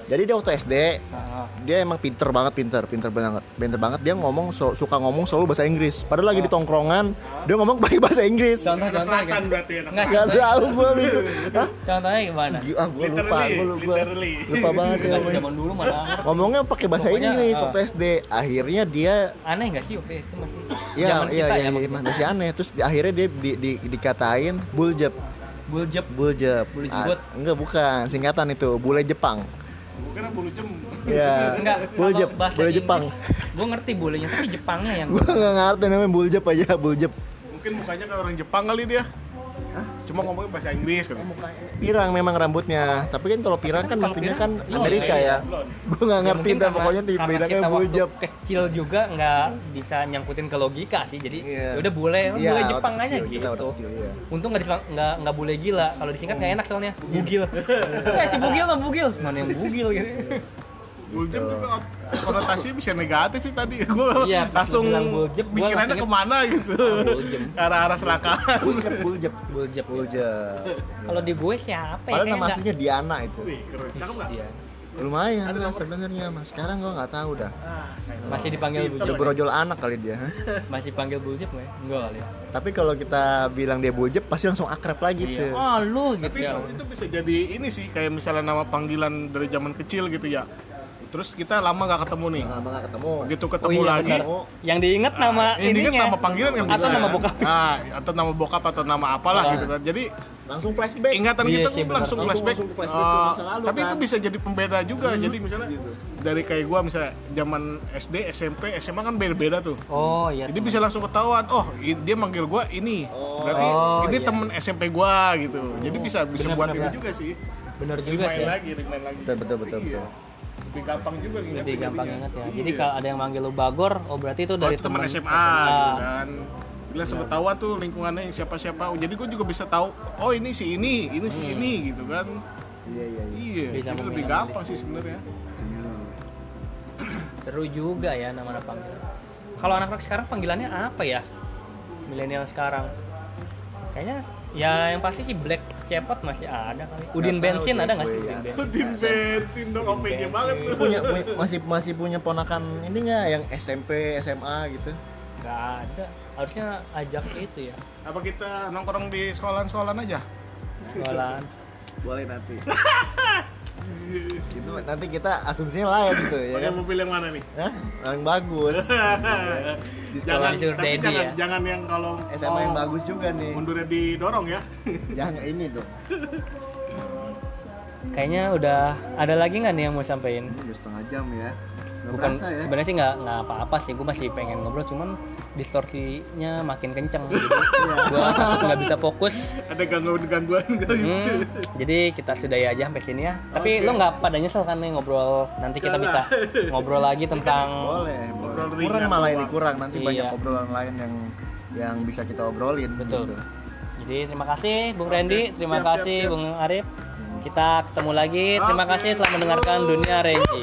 [SPEAKER 3] Jadi dia waktu SD
[SPEAKER 1] Ah, ah.
[SPEAKER 3] dia emang pinter banget, pinter, pinter banget, pinter banget. Dia ngomong so- suka ngomong selalu bahasa Inggris. Padahal lagi di tongkrongan, dia ngomong pakai bahasa Inggris.
[SPEAKER 1] contoh
[SPEAKER 2] Anak
[SPEAKER 1] contoh
[SPEAKER 2] selatan berarti ya, anak
[SPEAKER 1] Nggak,
[SPEAKER 3] Gak
[SPEAKER 1] contoh-
[SPEAKER 3] tahu gue itu. Hah?
[SPEAKER 1] contohnya gimana
[SPEAKER 3] Gi- Ah, gue lupa,
[SPEAKER 2] Literally,
[SPEAKER 3] gue lupa,
[SPEAKER 2] literally.
[SPEAKER 3] lupa banget ya.
[SPEAKER 1] Kasih
[SPEAKER 3] Boy.
[SPEAKER 1] zaman dulu malah
[SPEAKER 3] Ngomongnya pakai bahasa
[SPEAKER 1] Pokoknya,
[SPEAKER 3] Inggris
[SPEAKER 1] ah.
[SPEAKER 3] waktu SD. Akhirnya dia
[SPEAKER 1] aneh nggak sih waktu itu masih
[SPEAKER 3] Iya,
[SPEAKER 1] zaman
[SPEAKER 3] iya,
[SPEAKER 1] kita
[SPEAKER 3] iya,
[SPEAKER 1] ya
[SPEAKER 3] iya, masih aneh. Terus di, akhirnya dia di, di- dikatain buljep,
[SPEAKER 1] buljep
[SPEAKER 3] buljep.
[SPEAKER 1] Bule
[SPEAKER 3] Ah,
[SPEAKER 1] jigot.
[SPEAKER 3] enggak bukan, singkatan itu, bule Jepang.
[SPEAKER 2] Gue kira bulu jem.
[SPEAKER 3] Iya.
[SPEAKER 1] enggak
[SPEAKER 3] buljep,
[SPEAKER 1] kalau bahasa
[SPEAKER 3] bule
[SPEAKER 1] Inggris,
[SPEAKER 3] Jepang.
[SPEAKER 1] gua ngerti bolehnya tapi Jepangnya yang
[SPEAKER 3] Gua enggak ngerti namanya buljep aja, buljep.
[SPEAKER 2] Mungkin mukanya kayak orang Jepang kali dia. Cuma ngomongnya bahasa Inggris kan.
[SPEAKER 3] Pirang memang rambutnya, tapi kan kalau pirang kan
[SPEAKER 1] Kalau
[SPEAKER 3] mestinya
[SPEAKER 1] pirang,
[SPEAKER 3] kan
[SPEAKER 1] iya,
[SPEAKER 3] Amerika
[SPEAKER 1] iya,
[SPEAKER 3] ya.
[SPEAKER 2] Belum.
[SPEAKER 3] Gua enggak
[SPEAKER 1] Ya,
[SPEAKER 3] ngerti
[SPEAKER 1] mungkin
[SPEAKER 3] dah
[SPEAKER 1] karena-
[SPEAKER 3] pokoknya di-
[SPEAKER 1] karena
[SPEAKER 3] bilangnya
[SPEAKER 1] kita waktu
[SPEAKER 3] buljep.
[SPEAKER 1] kecil juga nggak bisa nyangkutin ke logika sih jadi
[SPEAKER 3] Iya.
[SPEAKER 1] ya udah boleh
[SPEAKER 3] Iya,
[SPEAKER 1] boleh
[SPEAKER 3] waktu
[SPEAKER 1] Jepang aja
[SPEAKER 3] kecil, kita waktu
[SPEAKER 1] gitu
[SPEAKER 3] kecil, Hmm. iya.
[SPEAKER 1] untung nggak disebut- nggak nggak boleh gila kalau disingkat nggak enak soalnya bugil eh si bugil lah bugil mana yang bugil gitu
[SPEAKER 2] Bulu jem juga ot- konotasinya bisa negatif sih tadi. Gue
[SPEAKER 1] Iya, pas
[SPEAKER 2] langsung
[SPEAKER 1] lu bilang bulu jem, gua
[SPEAKER 2] pikirannya
[SPEAKER 1] langsung
[SPEAKER 2] kemana gitu.
[SPEAKER 1] Ah, bulu jem.
[SPEAKER 2] Arah-arah selangkangan.
[SPEAKER 3] Buljep, buljep,
[SPEAKER 1] buljep
[SPEAKER 3] buljep.
[SPEAKER 1] kalau di gue siapa ya
[SPEAKER 3] iya. Padahal
[SPEAKER 1] Kayaknya
[SPEAKER 3] nama
[SPEAKER 1] nggak-
[SPEAKER 3] aslinya Diana itu.
[SPEAKER 2] Wih, keren. Cakep nggak?
[SPEAKER 1] Iya.
[SPEAKER 3] Lumayan lah sebenarnya, Mas. Sekarang gua nggak tahu dah.
[SPEAKER 2] Ah, sayang.
[SPEAKER 1] masih dipanggil
[SPEAKER 3] Udah
[SPEAKER 1] buljep
[SPEAKER 3] berojol anak kali dia. ha?
[SPEAKER 1] masih panggil buljep nggak ya? enggak kali ya
[SPEAKER 3] Tapi kalau kita bilang dia bojep pasti langsung akrab lagi
[SPEAKER 1] Iya.
[SPEAKER 3] tuh.
[SPEAKER 1] Oh lu gitu
[SPEAKER 2] Tapi
[SPEAKER 1] ya.
[SPEAKER 2] itu, itu bisa jadi ini sih kayak misalnya nama panggilan dari zaman kecil gitu ya. Terus kita lama nggak ketemu nih.
[SPEAKER 3] Lama nggak ketemu.
[SPEAKER 2] Begitu
[SPEAKER 1] Oh
[SPEAKER 2] ketemu
[SPEAKER 1] iya,
[SPEAKER 2] lagi,
[SPEAKER 1] benar. Yang diinget nama
[SPEAKER 2] ini kan
[SPEAKER 1] ininya.
[SPEAKER 2] nama panggilan kan
[SPEAKER 1] Atau
[SPEAKER 2] bisa.
[SPEAKER 1] nama bokap.
[SPEAKER 2] Nah, atau nama bokap atau nama apalah
[SPEAKER 3] Ah.
[SPEAKER 2] gitu kan. Jadi
[SPEAKER 3] Langsung flashback.
[SPEAKER 2] ingatan
[SPEAKER 1] Iya
[SPEAKER 2] kita
[SPEAKER 1] sih, benar.
[SPEAKER 2] langsung
[SPEAKER 3] Langsung-
[SPEAKER 2] flashback.
[SPEAKER 3] langsung flashback ke masa
[SPEAKER 2] Eh,
[SPEAKER 3] lalu,
[SPEAKER 2] tapi itu
[SPEAKER 3] kan.
[SPEAKER 2] bisa jadi pembeda juga.
[SPEAKER 1] Hmm.
[SPEAKER 2] Jadi misalnya dari kayak gua misalnya zaman SD, SMP, SMA kan beda-beda tuh.
[SPEAKER 1] Oh iya.
[SPEAKER 2] Jadi bisa langsung ketahuan, oh i- dia manggil gua ini.
[SPEAKER 3] Oh.
[SPEAKER 2] Berarti
[SPEAKER 1] Oh,
[SPEAKER 2] ini
[SPEAKER 1] iya.
[SPEAKER 2] temen SMP gua gitu. Jadi bisa bisa
[SPEAKER 1] Benar,
[SPEAKER 2] buat
[SPEAKER 1] benar, iya.
[SPEAKER 2] ini
[SPEAKER 1] benar.
[SPEAKER 2] juga sih.
[SPEAKER 1] bener juga
[SPEAKER 2] Main
[SPEAKER 1] sih. ya.
[SPEAKER 2] lagi, main lagi.
[SPEAKER 3] Betul, betul, betul,
[SPEAKER 2] Iya.
[SPEAKER 3] betul.
[SPEAKER 2] Lebih gampang juga ngingetin
[SPEAKER 1] Lebih gampang
[SPEAKER 2] jadinya.
[SPEAKER 1] inget ya. Jadi
[SPEAKER 2] Iya.
[SPEAKER 1] kalau ada yang manggil lu Bagor, oh berarti itu
[SPEAKER 2] Oh,
[SPEAKER 1] dari
[SPEAKER 2] itu teman SMA, gitu kan. Bila
[SPEAKER 1] Iya.
[SPEAKER 2] sebetawa tuh lingkungannya siapa-siapa. Jadi gue juga bisa tahu, oh ini si ini, ini si ini gitu kan.
[SPEAKER 3] Iya iya iya.
[SPEAKER 2] Iya,
[SPEAKER 1] Hmm. Bisa
[SPEAKER 2] jadi lebih
[SPEAKER 1] memilih.
[SPEAKER 2] gampang sih sebenarnya.
[SPEAKER 3] Senyum.
[SPEAKER 1] Seru juga ya nama-nama panggilan. Kalau anak-anak sekarang panggilannya apa ya? Milenial sekarang. Kayaknya ya yang pasti sih Black Cepot masih ada kali. Udin
[SPEAKER 3] Nggak tahu
[SPEAKER 1] Bensin
[SPEAKER 3] deh
[SPEAKER 1] ada nggak
[SPEAKER 3] gue
[SPEAKER 1] sih?
[SPEAKER 3] ya.
[SPEAKER 1] Udin Bensin?
[SPEAKER 2] Udin bensin dong OPG banget lu.
[SPEAKER 3] punya punya- masih masih punya ponakan ini nggak yang SMP SMA gitu
[SPEAKER 1] Nggak ada. Harusnya ajak itu ya.
[SPEAKER 2] Iya. Apa kita nongkrong di sekolahan-sekolahan aja?
[SPEAKER 1] Sekolahan.
[SPEAKER 3] boleh nanti gitu nanti kita asumsinya lain gitu ya
[SPEAKER 2] Pakai
[SPEAKER 3] kan
[SPEAKER 2] mobil yang mana nih?
[SPEAKER 3] Hah? yang bagus
[SPEAKER 2] Iya,
[SPEAKER 3] di
[SPEAKER 2] jangan,
[SPEAKER 3] sekolah
[SPEAKER 1] Jujur
[SPEAKER 2] tapi
[SPEAKER 1] Daddy
[SPEAKER 2] jangan,
[SPEAKER 1] ya.
[SPEAKER 2] jangan yang kalau
[SPEAKER 3] SMA yang bagus juga nih
[SPEAKER 2] mundurnya didorong ya.
[SPEAKER 3] jangan ini dong
[SPEAKER 1] Kayaknya udah ada lagi nggak nih yang mau sampein?
[SPEAKER 3] Ini udah setengah jam ya nggak
[SPEAKER 1] Bukan
[SPEAKER 3] berasa ya
[SPEAKER 1] sebenarnya sih nggak nggak apa-apa sih. Gue masih pengen ngobrol, cuman distorsinya makin kenceng. Jadi
[SPEAKER 2] Iya.
[SPEAKER 1] gue nggak bisa fokus.
[SPEAKER 2] Ada gangguan-gangguan gitu.
[SPEAKER 1] Hmm, jadi kita sudahi aja sampai sini ya. Tapi
[SPEAKER 2] Oke.
[SPEAKER 1] lo nggak pada nyesel kan nih ngobrol nanti kita
[SPEAKER 2] Nggak
[SPEAKER 1] bisa ngobrol lagi tentang
[SPEAKER 3] boleh boleh
[SPEAKER 2] Ngobrol
[SPEAKER 3] kurang
[SPEAKER 2] ringan
[SPEAKER 3] malah
[SPEAKER 2] doang.
[SPEAKER 3] ini kurang nanti banyak
[SPEAKER 1] Iya.
[SPEAKER 3] obrolan lain yang yang bisa kita obrolin
[SPEAKER 1] betul.
[SPEAKER 3] gitu.
[SPEAKER 1] Jadi terima kasih Bung Randy, terima
[SPEAKER 2] Siap, siap,
[SPEAKER 1] kasih
[SPEAKER 2] siap.
[SPEAKER 1] Bung Arif. Kita ketemu lagi. Terima
[SPEAKER 2] Oke.
[SPEAKER 1] kasih telah mendengarkan Dunia Renji.